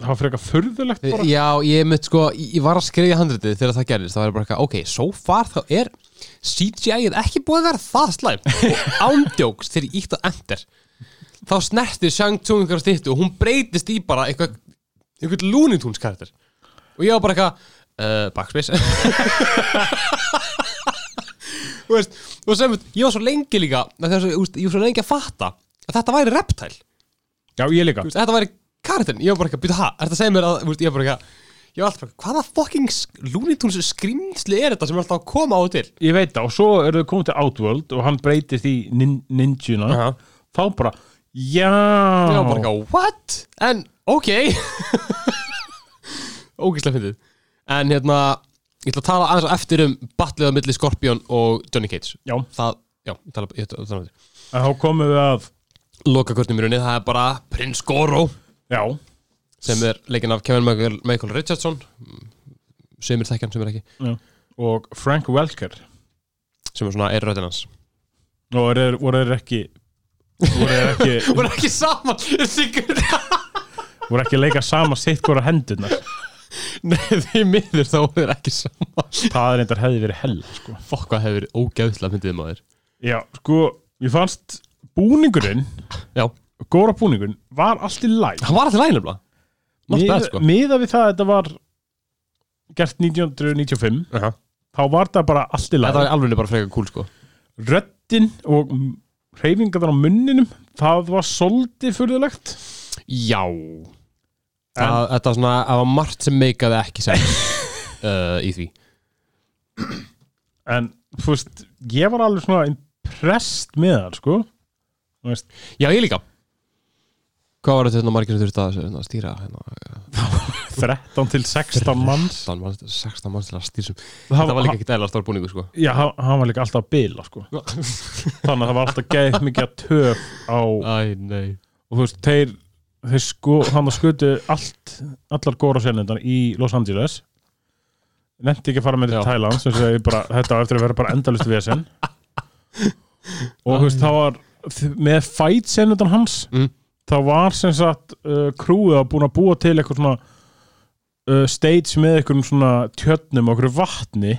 [SPEAKER 2] það var frekar furðulegt bara
[SPEAKER 1] Já, ég mitt sko, ég var að skrifja handritið þegar það gerðist, það var ég bara eitthvað, ok, so far þá er CGI-ið ekki búið að vera það slæm og ándjóks þegar ég ítt á enter þá snerti Shang Tsung einhverja stýttu og hún breytist í bara eitthvað einhvern Looney Tunes karakter og ég var bara eitthvað, uh, backspace Þú veist, og sem sagt, ég var svo lengi líka þess, úst, ég var svo lengi að fatta að þetta væri reptile
[SPEAKER 2] Já, ég líka
[SPEAKER 1] Þú veist, þetta væri karakterin, ég var bara ekki að býta hæ, þetta segir mér að, þú veist, ég var bara ekki að, ég var alltaf bara, hvaða fucking sk- Looney Tunes skrýmsli er þetta sem er alltaf að koma á og til?
[SPEAKER 2] Ég veit það og svo eru þau komið til Outworld og hann breytist í nin ninjuna
[SPEAKER 1] Aha.
[SPEAKER 2] þá bara, já
[SPEAKER 1] Ég var bara ekki að, what? En, ok, ógíslega fyndið, en hérna, ég ætla að tala aðeins á eftir um battlega milli Scorpion og Johnny Cage,
[SPEAKER 2] Já, en
[SPEAKER 1] það, já, ég tala, ég tala, tala um þetta.
[SPEAKER 2] þá komum við að
[SPEAKER 1] Loka í rauninni, það er bara Prince Goro,
[SPEAKER 2] Já,
[SPEAKER 1] sem er leikinn af Kevin Michael, Michael Richardson, Mm, sem er þekkjan, sem er ekki,
[SPEAKER 2] já. og Frank Welker
[SPEAKER 1] sem er svona er röðin hans.
[SPEAKER 2] og er, voru þeir ekki voru þeir ekki,
[SPEAKER 1] Hún er ekki saman Sigur
[SPEAKER 2] voru ekki að leika sama sitt hvora hendurnar
[SPEAKER 1] Nei, því miður þá er ekki saman
[SPEAKER 2] það er reyndar hefði verið hell sko.
[SPEAKER 1] Fokk hvað hefur verið ógeðslega myndið maður
[SPEAKER 2] já, sko, ég fannst búningurinn,
[SPEAKER 1] Já,
[SPEAKER 2] góra búningurinn var allt í læg
[SPEAKER 1] hann var alltaf lænumla Not bad sko
[SPEAKER 2] miða við það að þetta var gert 1995
[SPEAKER 1] Aha.
[SPEAKER 2] þá var það bara allt í
[SPEAKER 1] Þetta
[SPEAKER 2] læg
[SPEAKER 1] var alveg bara frekar cool sko
[SPEAKER 2] röddin og hreyfingarnar á munninum það var svolítið furðulegt
[SPEAKER 1] Já Það, Þetta var svona, það var margt sem meikaði ekki sem uh, í því
[SPEAKER 2] en þú veist, ég var alveg svona impressed með það, sko Þú veist,
[SPEAKER 1] Já, ég líka Hvað var þetta hérna margir sem þurfti að hérna, stýra hérna,
[SPEAKER 2] 13 til 16 manns
[SPEAKER 1] 16 manns, 16 manns til að stýra sem
[SPEAKER 2] það
[SPEAKER 1] Þetta var líka ekki dæla stór búningu sko
[SPEAKER 2] já, hann hann var líka alltaf að bila, sko þannig að það var alltaf geðið mikið að töf á,
[SPEAKER 1] Æ, nei
[SPEAKER 2] og þú veist, þeir þeir sko, hann skutu allt allar góra sérnendan í Los Angeles nefndi ekki að fara með til
[SPEAKER 1] Já.
[SPEAKER 2] Thailand sem segi bara, þetta á eftir að vera bara endalust vesen og þú veist, það var með fight sérnendan hans
[SPEAKER 1] Mm.
[SPEAKER 2] þá var sem sagt uh, krúið að búin að búa til eitthvað svona uh, stage með einhverjum svona tjörnum og einhverju vatni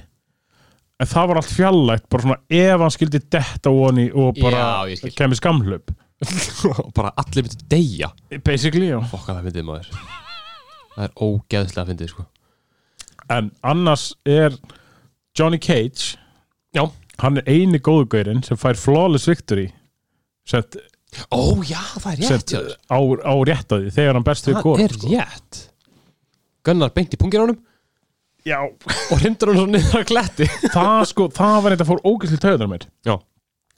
[SPEAKER 2] en það var allt fjallægt bara svona ef hann skildi detta ofan í og bara
[SPEAKER 1] Já, ég skil.
[SPEAKER 2] kemur skamhlaup
[SPEAKER 1] Og bara allir myndi deyja
[SPEAKER 2] basically, já
[SPEAKER 1] Fokka það fyndið maður Það er ógeðslega fyndið sko
[SPEAKER 2] en annars er Johnny Cage
[SPEAKER 1] Já.
[SPEAKER 2] hann er eini góðugöðurinn sem fær flawless victory sett,
[SPEAKER 1] Ó já, það er rétt
[SPEAKER 2] sett
[SPEAKER 1] hjá þér.
[SPEAKER 2] á, á rétt að því þegar hann berst við sko.
[SPEAKER 1] Það
[SPEAKER 2] góð
[SPEAKER 1] er rétt sko. Gunnar beint í pungir á honum
[SPEAKER 2] já,
[SPEAKER 1] Og hrindur hann svo niður að kletti
[SPEAKER 2] það sko, það var eitthvað fór ógæsli töðunar mér
[SPEAKER 1] Já.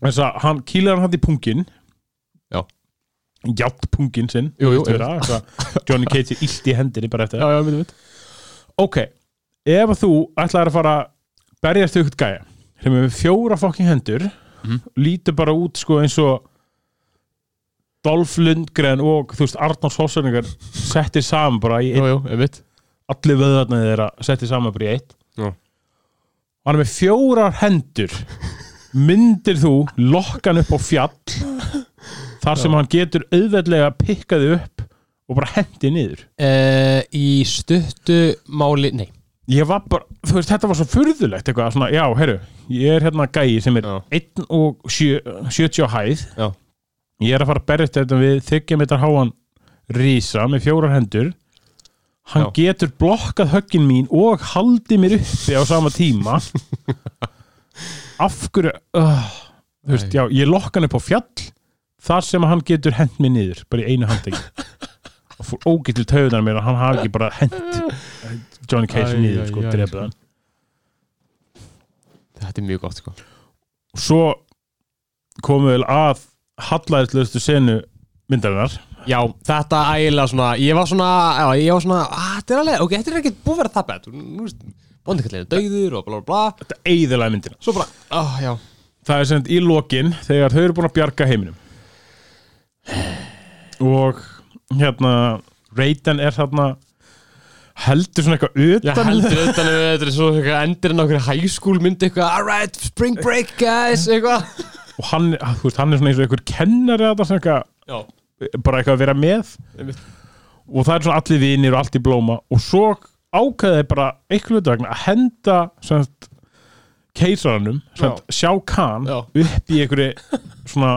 [SPEAKER 2] þess að hann kýlir hann hann í pungin
[SPEAKER 1] Já.
[SPEAKER 2] játt pungin sinn
[SPEAKER 1] Jú, jú,
[SPEAKER 2] veistu það, þess að Johnny Cage er illt í hendinni bara eftir það.
[SPEAKER 1] já, myndi veit
[SPEAKER 2] ok, ef að þú ætlaðir að fara að berjast við ykkur gæja sem er með fjóra fokking hendur lítur bara út sko eins og Dolph Lundgren og þú veist Arnold Schwarzenegger settir saman bara í
[SPEAKER 1] Jú,
[SPEAKER 2] einn,
[SPEAKER 1] jú, einmitt
[SPEAKER 2] allir vöðarnir þeirra settir saman bara í eitt
[SPEAKER 1] Já.
[SPEAKER 2] hann er með fjórar hendur myndir þú lokkan upp á fjall þar sem hann getur auðveldlega pikkaði upp og bara hendi niður
[SPEAKER 1] uh, Í stuttu máli, nei
[SPEAKER 2] ég var bara, þú veist, þetta var svo furðulegt eitthvað, svona, já, herru, ég er hérna gæi sem er
[SPEAKER 1] Já.
[SPEAKER 2] 1 og 7, 70 á hæð
[SPEAKER 1] Já.
[SPEAKER 2] ég er að fara að berja þetta við þykja metar háan rísa með fjórar hendur hann
[SPEAKER 1] Já.
[SPEAKER 2] getur blokkað höggin mín og haldið mér uppi á sama tíma af hverju uh, þú veist,
[SPEAKER 1] Æ.
[SPEAKER 2] já, ég lokka hann upp á fjall þar sem hann getur hent mér niður bara í einu handegi og fór ógilt til töðunar mér að hann hafi ekki bara hent Johnny Cage
[SPEAKER 1] Æ,
[SPEAKER 2] niður
[SPEAKER 1] æ,
[SPEAKER 2] sko,
[SPEAKER 1] æ,
[SPEAKER 2] drefið
[SPEAKER 1] sko.
[SPEAKER 2] hann
[SPEAKER 1] Þetta er mjög gott sko
[SPEAKER 2] og svo komum við að hallæðislustu senu myndarinnar
[SPEAKER 1] Já, þetta ægilega svona Ég var svona, já, ég var svona "Ah, Þetta er alveg, ok, þetta er ekkert búið að vera það bett Nú veist, bóndikallinu dögður og bla bla bla
[SPEAKER 2] þetta eiðilega myndina
[SPEAKER 1] Svo bara, ah, já
[SPEAKER 2] það er sem sagt í lokin þegar þau eru búin að bjarga heiminum og hérna Raiden er þarna heldur svona eitthvað
[SPEAKER 1] Já,
[SPEAKER 2] utan
[SPEAKER 1] heldur utan að þetta er svo eitthvað endurinn á okkur high school myndi eitthvað Alright, spring break guys, eitthvað
[SPEAKER 2] og hann, þú veist, hann er svona eins og einhver kennari að það sem eitthvað
[SPEAKER 1] Já,
[SPEAKER 2] bara eitthvað að vera með
[SPEAKER 1] einmitt
[SPEAKER 2] og það er svona allir vinir og allt í blóma og svo ákveðið bara eitthvað hlutu vegna að henda sem sagt, keisaranum sem sagt, sjá Khan
[SPEAKER 1] Já.
[SPEAKER 2] upp í einhverju svona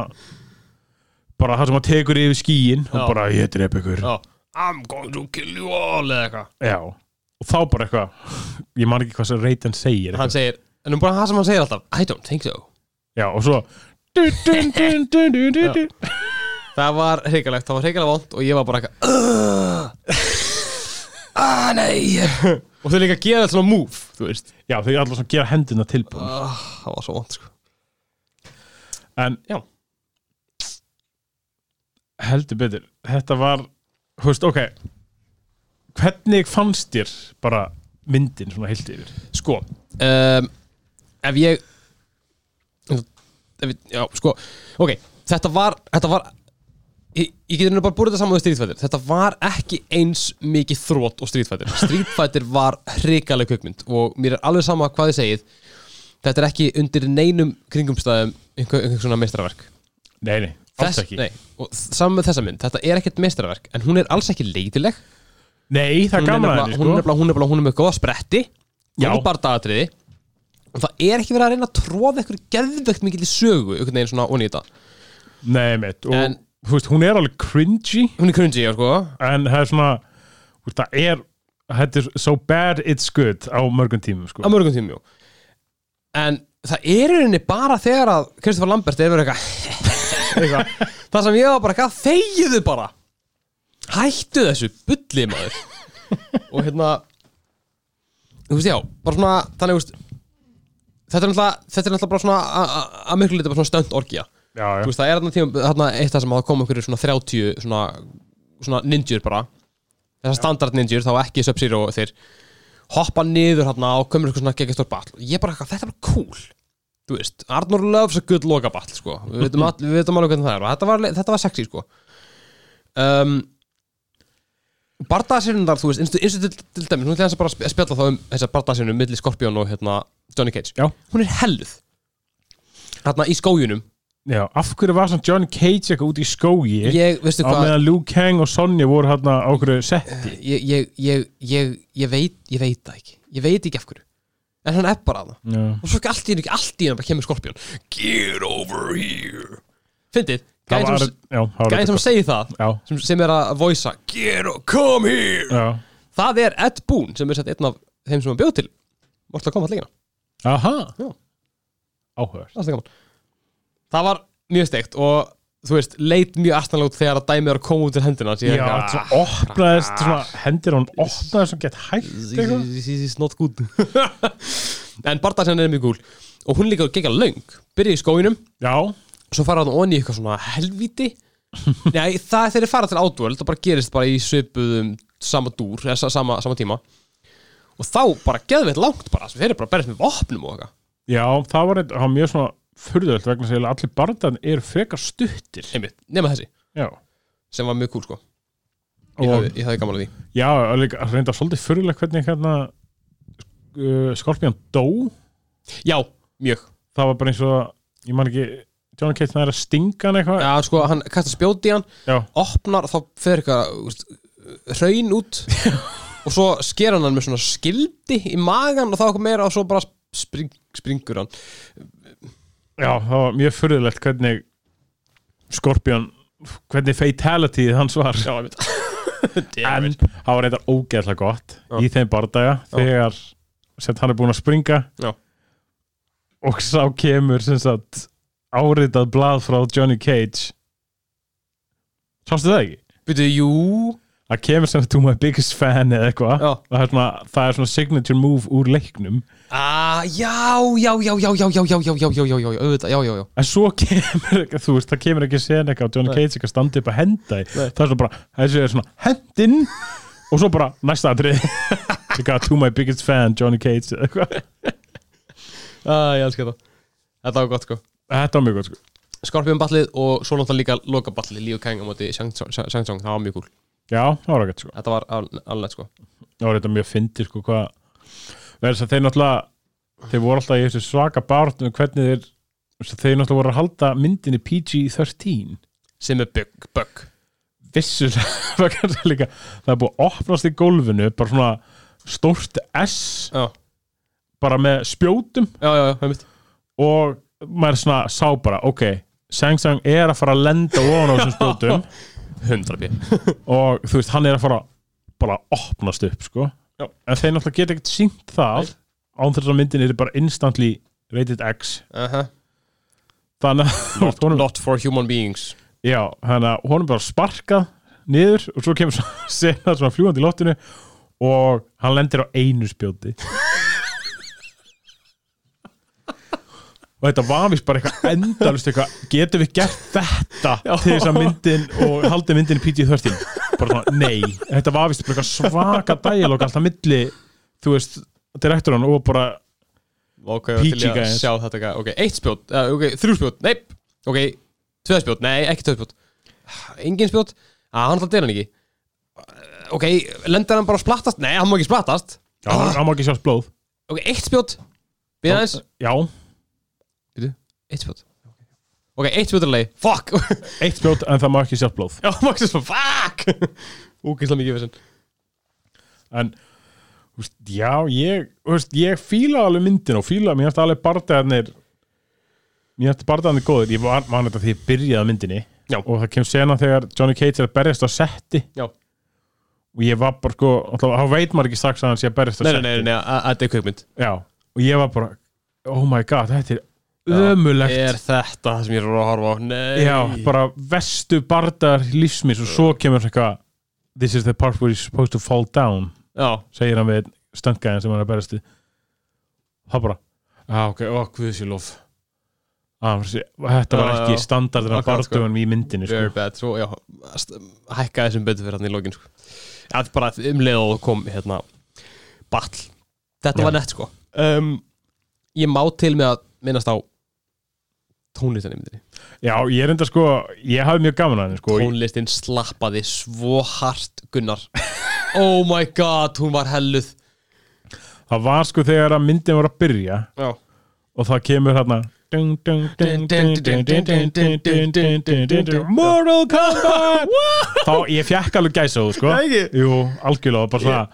[SPEAKER 2] bara það sem hann tekur yfir skíin og
[SPEAKER 1] Já.
[SPEAKER 2] bara ég drep ykkur
[SPEAKER 1] Já I'm going to kill you all eða eitthvað
[SPEAKER 2] Já. og þá bara eitthvað ég man ekki hvað sem Raiden segir
[SPEAKER 1] Hann segir, en um bara það sem hann segir alltaf I don't think so
[SPEAKER 2] Já, og svo dun, dun, dun, dun, dun, dun, dun.
[SPEAKER 1] Það var hrikalegt, það var hrikalega vond og ég var bara eitthvað "Ugh." Ah, nei Og þau líka gera þetta svona move, þú veist
[SPEAKER 2] Já, þau allar svona gera hendina tilbúin
[SPEAKER 1] ah, Það var svo vond, sko
[SPEAKER 2] En
[SPEAKER 1] Já.
[SPEAKER 2] Heldur betur Þetta var, þú veist, ok Hvernig fannst þér bara myndin svona heilt yfir?
[SPEAKER 1] Sko um, Ef ég ef, ég- Já, sko Ok, þetta var, þetta var Ég, ég getur nú bara búið þetta saman við Street Fighter Þetta var ekki eins mikið þrótt og Street Fighter Street Fighter var hrikaleg kvikmynd Og mér er alveg sama hvað þið segið Þetta er ekki undir neinum kringumstæðum einhver, einhver svona meistarverk
[SPEAKER 2] Nei, nei, Alls
[SPEAKER 1] Þess-
[SPEAKER 2] ekki.
[SPEAKER 1] Nei, og þ- saman með þessa mynd, þetta er ekkert meistarverk en hún er alls ekki leitileg
[SPEAKER 2] Nei, það er
[SPEAKER 1] hún er
[SPEAKER 2] gaman
[SPEAKER 1] nefnilega- hún,
[SPEAKER 2] að henni,
[SPEAKER 1] er
[SPEAKER 2] sko.
[SPEAKER 1] nefnilega- hún, er nefnilega- hún er með góða spretti
[SPEAKER 2] Já.
[SPEAKER 1] og bardagatriði og það er ekki verið að reyna að tróða ykkur geðvegt mikið í sögu einhvern veginn svona onni í þetta
[SPEAKER 2] Nei, mitt. Og,
[SPEAKER 1] En-
[SPEAKER 2] þú veist, hún er alveg cringy,
[SPEAKER 1] hún er cringy, já, sko
[SPEAKER 2] en það er svona, þú veist, það er, þetta er so bad it's good á mörgum tímum, sko.
[SPEAKER 1] á mörgum tímum, já en það er í rauninni bara þegar að Kristoffer Lambert er verið eitthvað eitthvað, það sem ég var bara eitthvað þegiðu bara hættu þessu bulli maður og hérna þú veist já, bara svona þannig, þú veist þetta er náttúrulega, þetta er náttúrulega bara svona a- a- að miklu liti bara svona stönd orkja
[SPEAKER 2] Já, já.
[SPEAKER 1] þú veist, það er þarna tíma, þarna eitt það sem að koma einhverju svona 30 svona, svona ninjur bara þessar standard ninjur, þá ekki Sub-Zero þeir hoppa niður hérna og komur eitthvað svona geggjastór battle ég bara, eitthvað, þetta er bara cool þú veist, Arnur loves a good loka battle sko. við veitum all- við veitum alveg hvernig það er og þetta var, þetta var sexy sko. um, bardaðsirindar, þú veist, eins og- eins og til, til dæmis, nú ætlum ég aðeins að bara að sp- spjalla þá um þessar bardaðsirinu milli Skorpjón og hérna, Johnny Cage
[SPEAKER 2] Já.
[SPEAKER 1] hún er helluð hérna í skójunum
[SPEAKER 2] Já, af hverju var svona John Cage eitthvað út í skógi
[SPEAKER 1] ég, veistu
[SPEAKER 2] á
[SPEAKER 1] hvað
[SPEAKER 2] meðan Liu Kang og Sonja voru hérna á hverju setti
[SPEAKER 1] ég, ég, ég, ég, ég veit ég veit það ekki, ég veit ekki af hverju en hann er bara það
[SPEAKER 2] Já,
[SPEAKER 1] og svo ekki allt í hennu, allt í hennu bara kemur skorpjón get over here fyndið,
[SPEAKER 2] það var,
[SPEAKER 1] gæðin sem,
[SPEAKER 2] já, það var
[SPEAKER 1] gæðin sem segir það
[SPEAKER 2] Já,
[SPEAKER 1] sem, sem er að voisa get over, come here
[SPEAKER 2] já,
[SPEAKER 1] það er Ed Boon sem er sett einn af þeim sem hann bjóð til Mortal Kombat leikina,
[SPEAKER 2] aha
[SPEAKER 1] Já.
[SPEAKER 2] Áhörst
[SPEAKER 1] það er gaman það var mjög steikt og þú veist, leit mjög astanlega út þegar að dæmið er að koma út til hendina
[SPEAKER 2] Já,
[SPEAKER 1] síðan eitthvað,
[SPEAKER 2] það opnaðist svona, hendir hún opnaðist svona gett hægt eitthvað
[SPEAKER 1] this is is not good en barndagsenn er mjög gúl og hún líka gegja löng byrja í skóinum,
[SPEAKER 2] Já,
[SPEAKER 1] svo fara hann onni í eitthvað svona helvíti Nei, það er þeirri fara til átvöld og bara gerist bara í svipuðum sama dúr, eða sa- sama, sama tíma og þá bara geðveitt langt bara, þeir eru bara að berjast með vopnum og eitthvað
[SPEAKER 2] já, það var, eitt- það var mjög svona furðöld vegna sem allir barndan eru frekar stuttir
[SPEAKER 1] einmitt, nema þessi,
[SPEAKER 2] Já,
[SPEAKER 1] sem var mjög gúl sko ég
[SPEAKER 2] og
[SPEAKER 1] hafði, ég hafði gaman að því
[SPEAKER 2] já, og líka reynda svolítið furðulegt hvernig hérna uh, Skorpjón dó
[SPEAKER 1] já, mjög,
[SPEAKER 2] það var bara eins og að ég man ekki, John Cage það er að stinga hann eitthvað
[SPEAKER 1] já, sko, hann kastar spjóti í hann
[SPEAKER 2] já,
[SPEAKER 1] opnar þá fer eitthvað þú veist, hraun út og svo sker hann hann með svona skildi í magan og þá eitthvað meira og svo bara spring, springur hann
[SPEAKER 2] já, það var mjög furðulegt hvernig Skorpjón hvernig fatality hans var já, en
[SPEAKER 1] en,
[SPEAKER 2] það var reyndar ógeðlega gott í þeim bardaga þegar sem hann er búin að springa
[SPEAKER 1] Já.
[SPEAKER 2] og sá kemur sem sagt áritað blað frá Johnny Cage sástu það ekki?
[SPEAKER 1] byrju, jú
[SPEAKER 2] það kemur sem to my biggest fan eða eitthvað
[SPEAKER 1] Já.
[SPEAKER 2] Og það, er svona, það er svona signature move úr leiknum
[SPEAKER 1] ah, já, já, já, já, já, já, já, já, já, já, já, já, auðvitað, já, já, já
[SPEAKER 2] en svo kemur ekki, þú veist, það kemur ekki sen eitthvað og Johnny
[SPEAKER 1] Nei.
[SPEAKER 2] Cage eitthvað standi upp að henda í.
[SPEAKER 1] Nei.
[SPEAKER 2] það er svona bara, þessi er svona hendinn og svo bara næsta atrið I got to my biggest fan, Johnny Cage eða eitthvað.
[SPEAKER 1] ah, ég elska það þetta var gott sko
[SPEAKER 2] þetta var mjög gott sko
[SPEAKER 1] Skorpjón ballið og svo náttúrulega líka loka ballið Líu Kang á móti Shang Tsung, Shang Tsung, það var mjög gúl
[SPEAKER 2] já, það var ágætt sko,
[SPEAKER 1] þetta var alveg sko
[SPEAKER 2] það var þetta mjög fyndi sko hvað, verður þess að þeir náttúrulega þeir voru alltaf í þessu svaka bárt um hvernig þeir, þess að þeir náttúrulega voru að halda myndinni PG-13
[SPEAKER 1] sem er bug, bug
[SPEAKER 2] vissulega það er kannski líka, það er búið að opnast í gólfinu bara svona stórt S
[SPEAKER 1] já,
[SPEAKER 2] bara með spjótum
[SPEAKER 1] já, já, já, einmitt
[SPEAKER 2] og maður svona sá bara ok, Sang-Sang er að fara að lenda ofan á þessum spjótum
[SPEAKER 1] 100 bí
[SPEAKER 2] og þú veist, hann er að fara bara að opnast upp, sko
[SPEAKER 1] Já.
[SPEAKER 2] en þeir náttúrulega geta ekkert sínt það án þess að myndin er bara instantly rated X
[SPEAKER 1] uh -huh.
[SPEAKER 2] þannig að honum,
[SPEAKER 1] not for human beings
[SPEAKER 2] já, þannig að honum bara sparkað niður og svo kemur svona sena svona fljúandi í loftinu og hann lendir á einu spjóti og þetta var vist bara eitthvað endalust eitthvað, getum við gert þetta til þess að myndin og haldið myndin PG-13 bara svona, nei, þetta var vist bara eitthvað svaka dæjalók alltaf milli, þú veist direktorinn og bara,
[SPEAKER 1] Ok, ég var til í
[SPEAKER 2] PG
[SPEAKER 1] að
[SPEAKER 2] guys.
[SPEAKER 1] sjá þetta gæ- Ok, eitt spjót, uh, ok, þrjú spjót, nei Ok, tveið spjót, nei, ekki tveið spjót Engin spjót, að hann alltaf deil hann ekki Eh, Ok, lendir hann bara að splattast Nei, hann má ekki splattast
[SPEAKER 2] já, hann má ekki sjást blóð eh,
[SPEAKER 1] Ok, eitt spjót, býða aðeins
[SPEAKER 2] já,
[SPEAKER 1] Eitt spjót Ok, eitt spjótarlegi, fuck
[SPEAKER 2] Eitt spjót en það má ekki sjátt blóð
[SPEAKER 1] Já, Maxi svo, fuck Úkislega mikið fyrir
[SPEAKER 2] En, þú veist, já, ég þú veist, Ég fíla alveg myndin og fíla Mér hætti alveg bardaðarnir Mér hætti bardaðarnir góðir Ég var mann þetta því ég byrjaði á myndinni
[SPEAKER 1] Já.
[SPEAKER 2] Og það kemur sena þegar Johnny Cage er að berjast á setti
[SPEAKER 1] Já,
[SPEAKER 2] Og ég var bara sko alltaf, Þá veit maður ekki strax að hann sé að berjast á
[SPEAKER 1] nei, nei,
[SPEAKER 2] setti
[SPEAKER 1] nei, nei, nei, að- að þetta er kveikmynd
[SPEAKER 2] Já, og ég var bara Oh my god, þetta er ömulegt
[SPEAKER 1] Er þetta það sem ég er að horfa á? Nei
[SPEAKER 2] Já, bara vestu bardar lífsmis og svo kemur eitthvað This is the part where you're supposed to fall down
[SPEAKER 1] Já,
[SPEAKER 2] segir hann við stöndgæðin sem hann er að berjast við Það bara Já, ok, ó, guðs ég lof ah, Þetta var
[SPEAKER 1] Já, já.
[SPEAKER 2] ekki standardin af
[SPEAKER 1] Akkurat, sko.
[SPEAKER 2] bardugunum í myndinni sko.
[SPEAKER 1] very bad Svo, já, st- hækkaði sem betur fyrir hann í lokin sko. Já, Þetta er bara um leið og kom, hérna Batl Þetta
[SPEAKER 2] Já.
[SPEAKER 1] var nett, sko um, Ég má til með að minnast á tónlistinni í myndinni
[SPEAKER 2] Já, ég er enda sko ég hafði mjög gaman að henni sko ég,
[SPEAKER 1] tónlistin slappaði svo hart Gunnar oh my god, hún var helluð
[SPEAKER 2] Það var sko þegar að myndin var að byrja
[SPEAKER 1] já,
[SPEAKER 2] og það kemur hérna Mortal Kombat þá ég fjekk alveg gæsa þú sko
[SPEAKER 1] Nei, ekki?
[SPEAKER 2] jú, algjörlega bara svona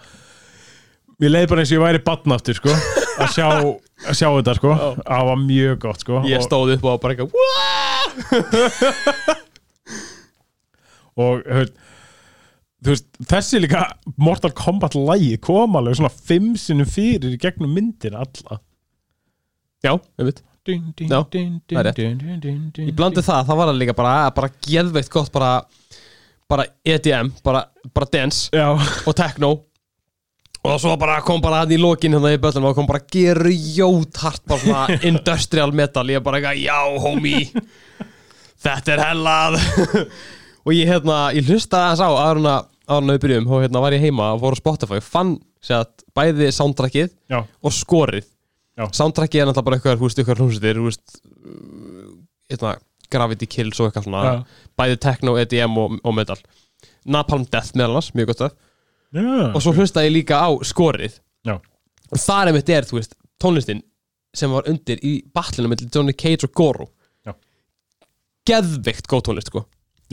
[SPEAKER 2] mér leið bara eins og ég væri batn aftur sko að sjá, að sjá þetta sko það var mjög gott sko
[SPEAKER 1] ég
[SPEAKER 2] og,
[SPEAKER 1] stóð upp og var bara eitthvað "Wah!"
[SPEAKER 2] og höll, þú veist, þessi líka Mortal Kombat lægi kom alveg svona fimm sinnum fyrir í gegnum myndin alla
[SPEAKER 1] já, einmitt Já, það er ég
[SPEAKER 2] ég
[SPEAKER 1] blandið það, það var það líka bara, bara geðveikt gott bara, bara EDM, bara, bara dance
[SPEAKER 2] já,
[SPEAKER 1] og techno og svo bara kom bara hann í lokin hérna í böllum og kom bara gerjót hart bara svona industrial metal ég bara eitthvað, já homie þetta er hellað og ég hérna, ég hlustaði þess á aðruna aðruna við byrjum og hérna var ég heima og fór á Spotify og fann sett bæði soundtrackið
[SPEAKER 2] já,
[SPEAKER 1] og skorið
[SPEAKER 2] Já.
[SPEAKER 1] soundtrackið er náttúrulega bara eitthvað, húst, eitthvað hljómsveitir húst, hérna, Gravity Kills og eitthvað svona,
[SPEAKER 2] Já.
[SPEAKER 1] bæði techno, EDM og, og metal Napalm Death meðal annars, mjög gott það
[SPEAKER 2] já.
[SPEAKER 1] og svo hlustaði ég líka á skorið
[SPEAKER 2] Já.
[SPEAKER 1] og þar einmitt er, þú veist, tónlistin sem var undir í batlinu með Johnny Cage og Goro
[SPEAKER 2] Já.
[SPEAKER 1] geðveikt góð tónlist, sko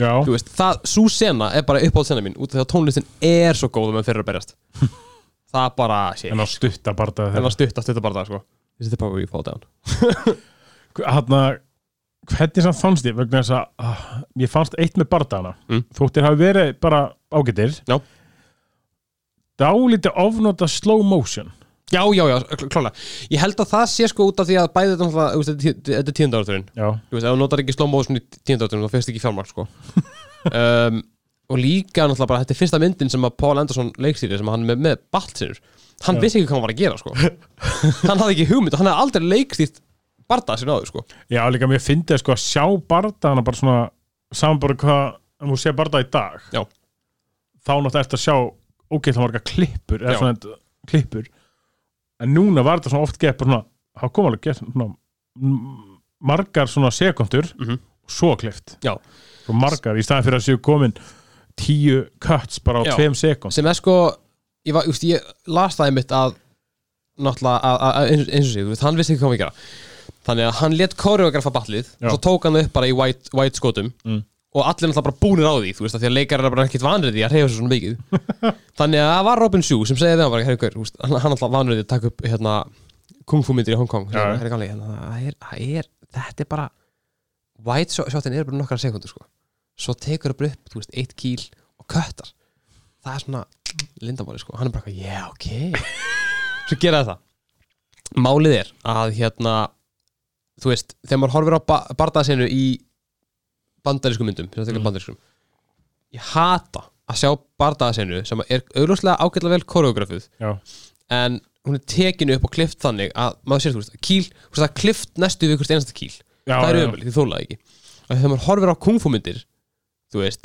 [SPEAKER 2] já.
[SPEAKER 1] þú veist, það, sú sena er bara uppáð sena mín út af því að tónlistin er svo góð um enn fyrir að berjast það bara, sé,
[SPEAKER 2] en á stutta bardaði
[SPEAKER 1] en
[SPEAKER 2] þeirra
[SPEAKER 1] að stutt að þetta bara það, sko This Hérna. is the power we fall down
[SPEAKER 2] hérna, hvernig sem fannst ég vegna þess að ah, ég fannst eitt með bardaðana
[SPEAKER 1] Mm.
[SPEAKER 2] þóttir hafi verið bara ágættir
[SPEAKER 1] Já.
[SPEAKER 2] dálítið ofnóta slow motion
[SPEAKER 1] Já, já, já, kl- klálega Ég held að það sé sko út af því að bæði þetta náttúrulega, þú veist, þetta er tí- þetta er tíundararturinn
[SPEAKER 2] já,
[SPEAKER 1] Þú veist, ef þú notar ekki slómóðsson í tíundararturinn þá fyrst ekki fjármark, sko um, Og líka náttúrulega bara, þetta er fyrsta myndin sem að Paul Anderson leikstýri sem hann er með, með baltsinur Hann
[SPEAKER 2] Já.
[SPEAKER 1] vissi ekki hvað hann var að gera, sko Hann hafði ekki hugmynd og hann hafði aldrei leikstýrt barða sinna áður, sko
[SPEAKER 2] já líka mér fyndi að sko að sjá bardaðana bara svona saman bara hvað, ef þú sé bardað í dag
[SPEAKER 1] Já.
[SPEAKER 2] þá náttúrulega ertu að sjá ógeðla marga klippur eða
[SPEAKER 1] Já.
[SPEAKER 2] svona klippur en núna var þetta svona oft gett bara svona, það kom alveg gett svona m- margar svona sekundur
[SPEAKER 1] Mhm.
[SPEAKER 2] og svo klift
[SPEAKER 1] Já.
[SPEAKER 2] svo margar í staðan fyrir að séu komin tíu cuts bara á
[SPEAKER 1] Já.
[SPEAKER 2] tveim sekund
[SPEAKER 1] sem er sko ég, var, just, ég las það einmitt að náttúrulega að, að, að, eins- eins og sig þú veist, hann vissi ekki hvað hann var að gera þannig að hann let koreografa ballið
[SPEAKER 2] Já.
[SPEAKER 1] og svo tók hann það upp bara í white, white skotum
[SPEAKER 2] Mm.
[SPEAKER 1] og allir náttúrulega bara búnir á því þú veist að því að leikar er bara ekkit vanrið því að reyfa svo svona mikið þannig að það var Robin Shu sem segði við hann bara "Heyrðu, gaur, þú veist, hann hann alltaf vanrið því að taka upp hérna kung fu myndir í Hong Kong
[SPEAKER 2] Já.
[SPEAKER 1] Segði, "Heyrðu, gamli, hérna, það er, það er, þetta er bara white shot- shotin er bara nokkara sekundur sko. svo tekur það bara upp þú veist, eitt kýl og köttar það er svona lindamáli sko. hann er bara eitthvað, já, ok svo gera það málið er að hérna þú veist, þegar maður horfir á ba bardaðsenu í bandarísku myndum sérstaklega
[SPEAKER 2] Mhm.
[SPEAKER 1] um bandarískum ég hata að sjá bardaðsenu sem er augljóslega ágætlega vel koreografuð
[SPEAKER 2] Já.
[SPEAKER 1] en hún er tekinu upp og klift þannig að maður sér, þú veist, kýl þú veist, það er klift næstu við hvert einasta kýl
[SPEAKER 2] Já,
[SPEAKER 1] það er
[SPEAKER 2] já, já.
[SPEAKER 1] ömulegt, ég þólaði ekki og þegar maður horfir á kungfúmyndir þú veist,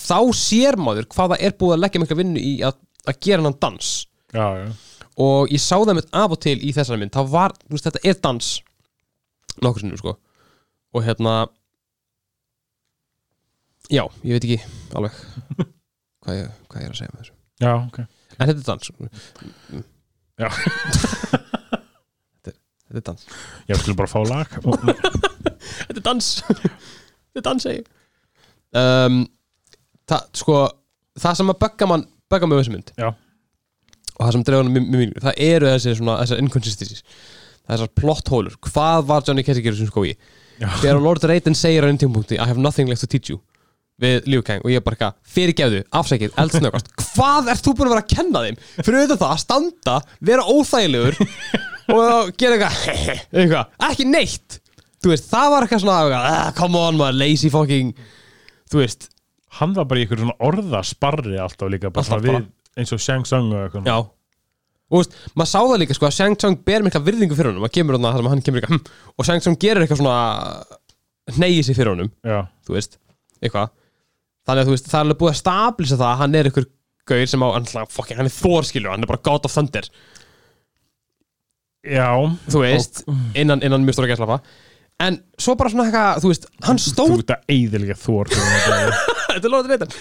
[SPEAKER 1] þá sér maður hvað það er búið að leggja mikla vinnu í að, að gera hennan dans
[SPEAKER 2] já, já.
[SPEAKER 1] og ég sá það mitt af og til í þessari mynd þá var, þú veist, þetta er dans nokkur sinnum, sko og hérna já, ég veit ekki alveg hvað ég, hvað ég er að segja með þessu
[SPEAKER 2] já ok
[SPEAKER 1] en þetta er dans
[SPEAKER 2] Já.
[SPEAKER 1] þetta, er- þetta er dans
[SPEAKER 2] ég skulle bara fá lag og,
[SPEAKER 1] Þetta er dans Þetta er dans segi ég. um, það, sko, það sem að bögga mann bögga mig á þessu mynd
[SPEAKER 2] Já.
[SPEAKER 1] og það sem drefa hann mjög mjög það eru þessi svona, þessar inconsistencies þessar plotthólur, hvað var Johnny Kessinger sem skói,
[SPEAKER 2] Já.
[SPEAKER 1] þegar Lord Raiden segir á einn tímpunkti, I have nothing left to teach you við Liu Kang og ég bara eitthvað fyrirgefðu, afsækið, eldsnöggast hvað ert þú búin að vera að kenna þeim fyrir auðvitað það að standa, vera óþægilegur og gera eitthvað eitthvað, ekki neitt þú veist, það var eitthvað svona eitthvað, ah, come on maður, lazy fucking þú veist,
[SPEAKER 2] Hann var bara í ykkur svona orðasparri alltaf líka bara
[SPEAKER 1] Alltaf
[SPEAKER 2] svona við, eins og Shang Tsung og eitthvað
[SPEAKER 1] já og veist, maður sá það líka sko að Shang Tsung ber mikla virðingu fyrir honum, maður kemur hann þar sem hann kemur eitthvað hm, og Shang Tsung gerir eitthvað svona neyið sér fyrir honum
[SPEAKER 2] Já,
[SPEAKER 1] þú veist, eitthvað þannig að þú veist, það er alveg búið að stablisa það að hann er einhver gaur sem á, hann, fucking, hann er þórskilur hann er bara God of Thunder,
[SPEAKER 2] já
[SPEAKER 1] þú veist innan, innan mjög stóra gæslafa en svo bara svona eitthvað, þú veist, hann
[SPEAKER 2] Þú
[SPEAKER 1] stóð
[SPEAKER 2] ert að eiðilega þór
[SPEAKER 1] þetta er lóðið reytan,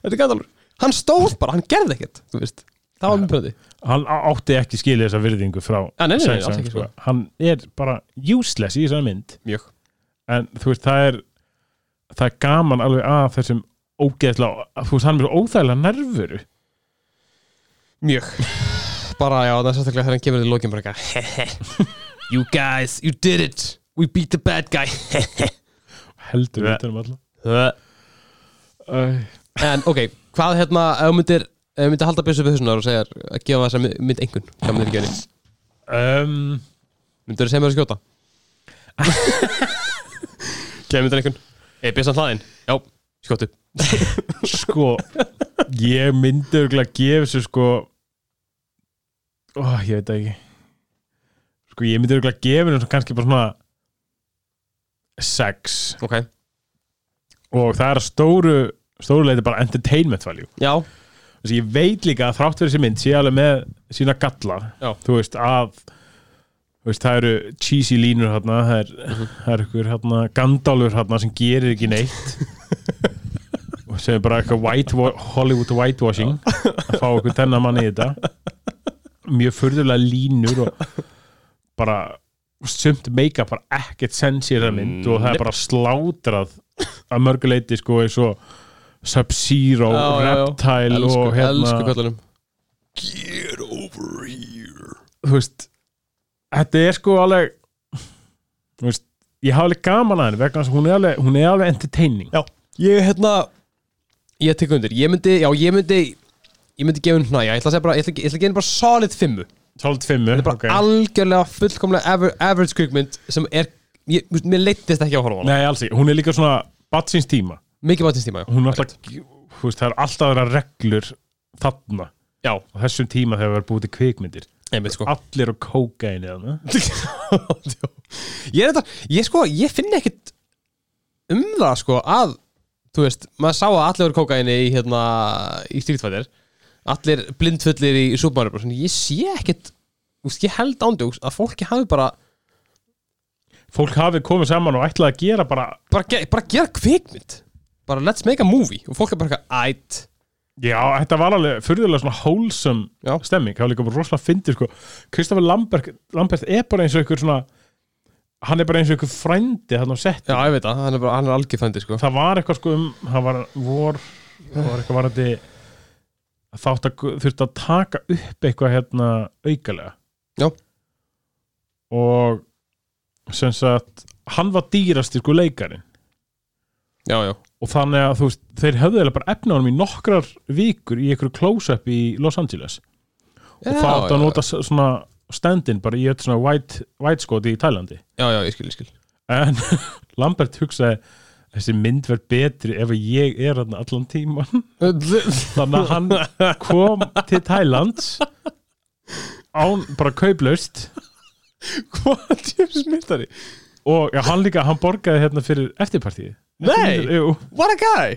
[SPEAKER 1] þetta er gæðalur hann stóð bara, hann gerði ekkert, þú veist það var mjög pöndi,
[SPEAKER 2] Hann á- átti ekki skilja þessa virðingu frá
[SPEAKER 1] Ah, nei, nei, nei, alls
[SPEAKER 2] Shang Tsung,
[SPEAKER 1] ekki,
[SPEAKER 2] sko. Hann er bara useless í þessari mynd
[SPEAKER 1] mjög
[SPEAKER 2] en þú veist, það er það er gaman alveg að þessum ógeðslega, þú veist, hann er svo óþægilega nervuru
[SPEAKER 1] Mjög Bara já, það er sérstaklega þegar hann kemur til lokin bara eitthvað You guys, you did it We beat the bad guy
[SPEAKER 2] heldur
[SPEAKER 1] Ja.
[SPEAKER 2] við um alla
[SPEAKER 1] En ok, hvað hérna ef þú myndir, ef þú myndir halda byssu við þessunar og segja að gefa þess að mynd einhvern hvað myndir ekki henni?
[SPEAKER 2] um,
[SPEAKER 1] Myndir þú segja mér að skjóta? Gefa myndir einhvern Eða byssan hlaðin? Já, skjóttu
[SPEAKER 2] sko ég myndi örgulega að gefa þessu sko ó, ég veit það ekki sko ég myndi örgulega að gefa þessu kannski bara svona sex
[SPEAKER 1] Ok,
[SPEAKER 2] og það er að stóru stóru leiti bara entertainment value
[SPEAKER 1] já,
[SPEAKER 2] Þessi, ég veit líka að þrátt fyrir þessi mynd sé alveg með sína galla
[SPEAKER 1] Já.
[SPEAKER 2] þú veist að þú veist, það eru cheesy línur hérna það er,
[SPEAKER 1] Mhm.
[SPEAKER 2] það er ykkur hérna gandálfur hérna sem gerir ekki neitt og sem er bara eitthvað white Hollywood whitewashing að fá okkur þennan mann í þetta mjög furðulega línur og bara sumt make-up bara ekkert sens í þessa mynd
[SPEAKER 1] Mm.
[SPEAKER 2] og það er bara slátrað að mörguleiti sko eins og Sub-Zero,
[SPEAKER 1] Já, já, já.
[SPEAKER 2] Reptile
[SPEAKER 1] elsku,
[SPEAKER 2] og hérna
[SPEAKER 1] elsku kallunum
[SPEAKER 2] Get over here Þú veist Þetta er sko alveg Þú veist Ég hafa alveg gaman að henni vegna þess að hún er alveg, hún er alveg entertaining
[SPEAKER 1] Já, ég hérna Ég tek undir, ég myndi, já ég myndi Ég myndi gefa henni hnaja, ég ætla að segja bara Ég ætla, ég ætla að gefa henni bara solid fimmu
[SPEAKER 2] Solid 5
[SPEAKER 1] bara algjörlega fullkomlega aver, average kvikmynd sem er, ég, þú veist, mér leittist ekki á að horfa á hana
[SPEAKER 2] Nei, alls ekki, hún er líka svona batsins tíma,
[SPEAKER 1] mikið bætist tíma, já,
[SPEAKER 2] hún er alltaf þú veist, það er alltaf að vera reglur þarna,
[SPEAKER 1] já,
[SPEAKER 2] á þessum tíma þegar verður búið til kvikmyndir,
[SPEAKER 1] einmitt sko
[SPEAKER 2] allir og kókaini þarna.
[SPEAKER 1] ég er þetta, ég sko, ég finn ekkit um það sko að þú veist, maður sá að allir voru kókaini í hérna, í stílitfæðir allir blindfullir í Super Mario Bros. ég sé ekkit, þú veist, ég held ándjóks að fólki hafi bara,
[SPEAKER 2] fólk hafi komið saman og ætlaði að gera bara,
[SPEAKER 1] bara, ge bara gera kvikmynd bara let's make a movie og fólk er bara eitthvað, ætt
[SPEAKER 2] já, þetta var alveg fyrðulega svona wholesome
[SPEAKER 1] Já.
[SPEAKER 2] stemming, það var líka bara rosalega fyndið sko, Kristoffer Lambert, Lambert er bara eins og ykkur svona hann er bara eins og ykkur frændi þarna á sett
[SPEAKER 1] já, ég veit það, hann er bara, hann er algjörfændi sko
[SPEAKER 2] það var eitthvað sko um það var vor það var eitthvað varandi þátt að þurfti að taka upp eitthvað hérna aukalega
[SPEAKER 1] Já.
[SPEAKER 2] og sem sagt hann var dýrasti sko leikarin
[SPEAKER 1] já, já,
[SPEAKER 2] og þannig að þú veist þeir höfðu eða bara efna honum í nokkrar vikur í einhverju close-up í Los Angeles og
[SPEAKER 1] Já,
[SPEAKER 2] það átti
[SPEAKER 1] já,
[SPEAKER 2] að nota s- svona stand-in bara í öll svona white, white skoti í Tælandi
[SPEAKER 1] já, já, ég skil, ég skil
[SPEAKER 2] en Lambert hugsaði þessi mynd verð betri ef ég er hann allan tíman þannig að hann kom til Tælands án bara kauplaust
[SPEAKER 1] Hvað tjöfis myndari?
[SPEAKER 2] og já, hann líka, hann borgaði hérna fyrir eftirpartíð
[SPEAKER 1] Nei!
[SPEAKER 2] Jú,
[SPEAKER 1] What a guy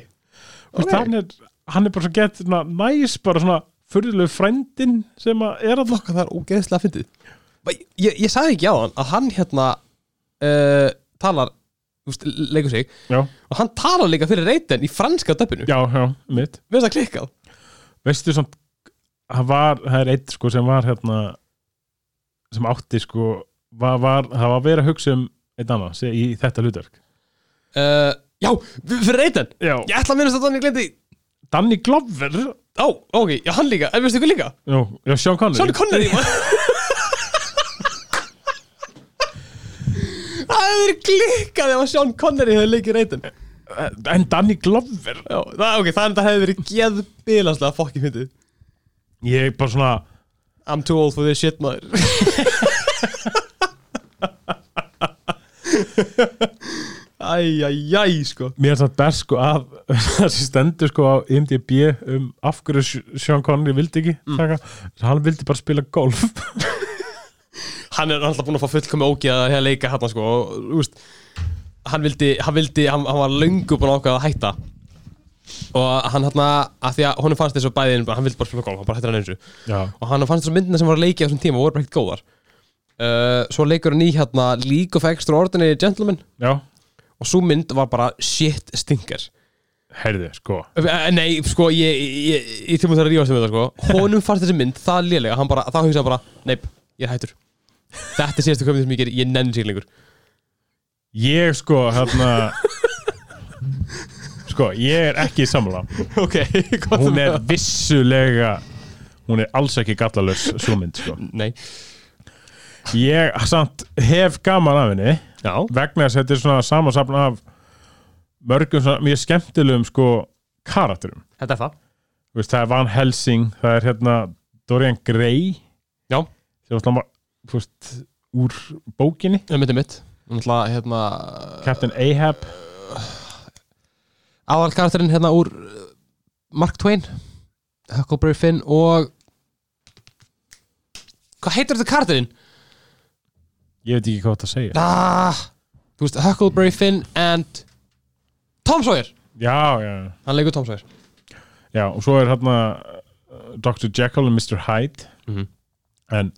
[SPEAKER 2] okay. hann, er, hann er bara svo gett svona, næs, bara svona furðulegu frændin sem að er að
[SPEAKER 1] Hvað það er ógeðslega fyndið Ba- Ég, ég sagði ekki á hann að hann hérna uh, talar úst, leikur sig
[SPEAKER 2] já,
[SPEAKER 1] og hann talar líka fyrir reytin í franska döpinu
[SPEAKER 2] já, já, mitt
[SPEAKER 1] Við það klikkað
[SPEAKER 2] veistu samt það var, það er eitt sko sem var hérna sem átti sko var, var, það var verið að hugsa um einn annað sé- í þetta hlutverk
[SPEAKER 1] uh, Já, fyrir reytan
[SPEAKER 2] Já,
[SPEAKER 1] Ég ætla að minnast að þannig glendi
[SPEAKER 2] Danny Glover
[SPEAKER 1] Á, ok, já, hann líka, en veistu ykkur líka
[SPEAKER 2] Já, já Sean Connery
[SPEAKER 1] Sean Connery man. Það hefur klikkað ef að Sean Connery hefur leikið reytan
[SPEAKER 2] Connery Eh, En Danny Glover
[SPEAKER 1] Já, það, ok, það, það hefur verið geðbilanslega fokkið myndið
[SPEAKER 2] Ég bara svona
[SPEAKER 1] I'm too old for this shit, maður Æjæjæj, sko
[SPEAKER 2] Mér er það best sko að þessi stendur sko á IMDb um af hverju Sh- Sean Connery vildi ekki taka, hann vildi bara spila golf
[SPEAKER 1] Hann er alltaf búinn að fá fullkomi ógeða að leika hérna, sko og, þú veist, Hann vildi, hann vildi, hann, hann var löngu búinn að ákveða að hætta Og hann hérna, að því að honum fannst þessu bæðin Hann vildi bara spila golf, hann bara hættir hann eins og
[SPEAKER 2] Já,
[SPEAKER 1] Og hann fannst þessu myndina sem var að leika á þessum tíma voru bara ekkert góðar uh, Svo leikur hann í hérna League of Extraordinary Gentlemen
[SPEAKER 2] já,
[SPEAKER 1] Og svo mynd var bara shit stinger
[SPEAKER 2] heyrðu sko
[SPEAKER 1] Eh, Nei, sko, ég, ég, ég tíma það að rífast um þetta, sko Honum fannst þessi mynd, það lélega Hann bara, það hugsaði bara, neip, ég er hættur Þetta er síðastu komið sem ég ger, ég nenni sig lengur
[SPEAKER 2] Ég sko hérna Sko, ég er ekki í samla
[SPEAKER 1] Ok, hvað
[SPEAKER 2] Hún er vissulega Hún er alls ekki gallalös svo mynd sko
[SPEAKER 1] Nei,
[SPEAKER 2] Ég samt hef gaman af henni
[SPEAKER 1] já,
[SPEAKER 2] vegna þess að þetta er svona samansapna af mörgum svona mjög skemmtilegum sko karakterum
[SPEAKER 1] þetta er það
[SPEAKER 2] Þú veist, það er Van Helsing, það er hérna Dorian Gray
[SPEAKER 1] Já,
[SPEAKER 2] sem alltaf var, þú veist, úr bókinni,
[SPEAKER 1] um mitt er mitt Þannig að, hérna,
[SPEAKER 2] Captain Ahab
[SPEAKER 1] aðalkarakterinn hérna úr uh, Mark Twain Huckleberry Finn og Hvað heitir þetta karakterinn?
[SPEAKER 2] ég veit ekki hvað þetta segir
[SPEAKER 1] Ah, þú veist, Huckleberry Finn and Tom Sawyer
[SPEAKER 2] já, já,
[SPEAKER 1] Hann leikur Tom Sawyer
[SPEAKER 2] já, og svo er hérna uh, Dr. Jekyll og Mr. Hyde
[SPEAKER 1] Mhm.
[SPEAKER 2] en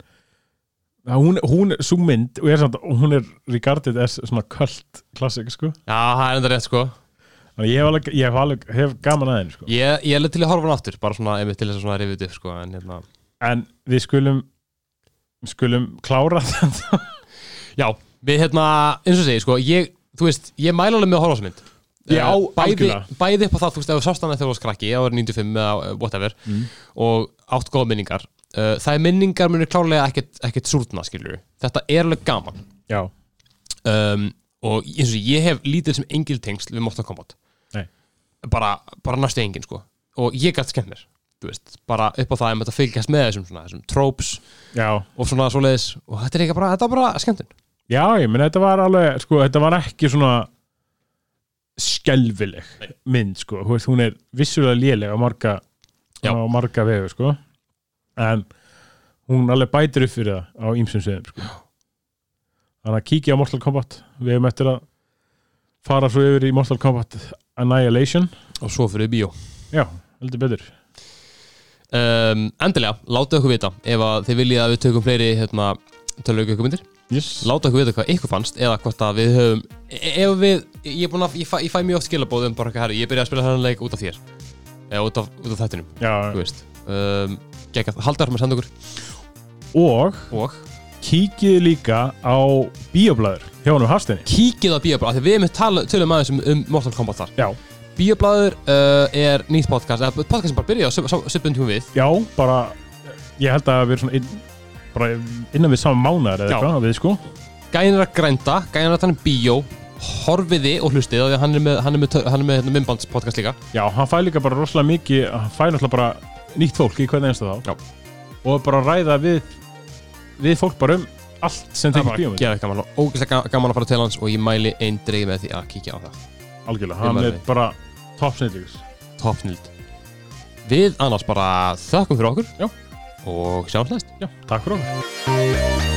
[SPEAKER 2] að hún, hún, svo mynd og ég er samt, hún er regarded as svona kult klassik, sko
[SPEAKER 1] Já, það er enda rétt sko
[SPEAKER 2] þannig að ég hef alveg, ég hef alveg, hef gaman að henni, sko
[SPEAKER 1] Ég, ég er leitt til að horfa hann aftur, bara svona einmitt til þess að svona rifið upp sko en, hérna.
[SPEAKER 2] en við skulum skulum klára þetta
[SPEAKER 1] Já, við hérna, eins og segi sko ég, Þú veist, ég mæla alveg með að horfa á þessu mynd
[SPEAKER 2] Ég á
[SPEAKER 1] Eh, bæði,
[SPEAKER 2] algjörlega.
[SPEAKER 1] bæði upp á það, þú veist, ef þú sást hann þegar þú var skrakki eða var 95 eða eh, whatever og átt góða minningar uh, Það er minningar munir klárlega ekkert, ekkert súrna skilur Þetta er alveg gaman
[SPEAKER 2] já,
[SPEAKER 1] um, og eins og ég hef lítið sem engil tengsl við Mortal Kombat
[SPEAKER 2] Nei.
[SPEAKER 1] bara, bara næstu engin sko og ég gætt skemmt mér þú veist, bara upp á það um að þetta fylgjast með þessum, svona, þessum tropes
[SPEAKER 2] já
[SPEAKER 1] og svona svoleiðis og þetta er ekki bara, þetta er bara skemmtun
[SPEAKER 2] Já, ég menn þetta var alveg, sko, þetta var ekki svona skelfileg mynd, sko, Þú veist, hún er vissulega léleg á marga
[SPEAKER 1] Já.
[SPEAKER 2] á marga vegu, sko en hún alveg bætir upp fyrir það á ýmsum sviðum, sko þannig að kíkja á Mortal Kombat við hefum eftir að fara svo yfir í Mortal Kombat Annihilation
[SPEAKER 1] og svo fyrir bíó
[SPEAKER 2] Já, heldur betur
[SPEAKER 1] um, endilega, látið okkur vita ef að þið viljið að við tökum fleiri hérna, tölvöku ykkur myndir
[SPEAKER 2] yes.
[SPEAKER 1] láta okkur vita hvað ykkur fannst eða hvort að við höfum e- ef við, ég, er búinn að, ég, fæ, ég fæ mjög oft skilabóð um bara ekki herri, ég byrja að spila þennan leik út af þér eða út af, út af þættinum,
[SPEAKER 2] Já,
[SPEAKER 1] þú veist um, geggjað, haldið þar með að senda okkur
[SPEAKER 2] og
[SPEAKER 1] og
[SPEAKER 2] kíkið líka á Bíoblæður hjá honum Hafsteini
[SPEAKER 1] kíkið á Bíoblaður, því við erum tala, tölum aðeins um, um Mortal Kombat þar
[SPEAKER 2] Já,
[SPEAKER 1] Bíoblaður uh, er nýtt podcast, eða podcast sem bara byrjaði á söpun tjúum við
[SPEAKER 2] Já, bara ég held að við erum svona inn, bara innan við saman mánar eða
[SPEAKER 1] Já.
[SPEAKER 2] eitthvað að við sko
[SPEAKER 1] gæðin er að grænda, gæðin er að tala um bíó horfiði og hlustið af því að hann er með, hann er með, tö- hann er með hérna, mymbandspodcast líka
[SPEAKER 2] Já, hann fæ líka bara rosalega mikið hann fæ náttúrulega bara nýtt fólk í hvernig einstu þá
[SPEAKER 1] Já.
[SPEAKER 2] og bara ræða við við fólk bara um allt
[SPEAKER 1] það er
[SPEAKER 2] sem þykir
[SPEAKER 1] bara
[SPEAKER 2] bíómynd
[SPEAKER 1] geðveikt gaman og ógeðslega ga- gaman að fara til hans og ég mæli einn dreig með því að kíkja á það
[SPEAKER 2] algjörlega,
[SPEAKER 1] Ég
[SPEAKER 2] hann
[SPEAKER 1] mæli
[SPEAKER 2] er
[SPEAKER 1] því.
[SPEAKER 2] bara toppsnýtlíks
[SPEAKER 1] toppnild Við annars bara þökkum fyrir okkur
[SPEAKER 2] Já.
[SPEAKER 1] og sjáum slæst
[SPEAKER 2] Já, takk fyrir okkur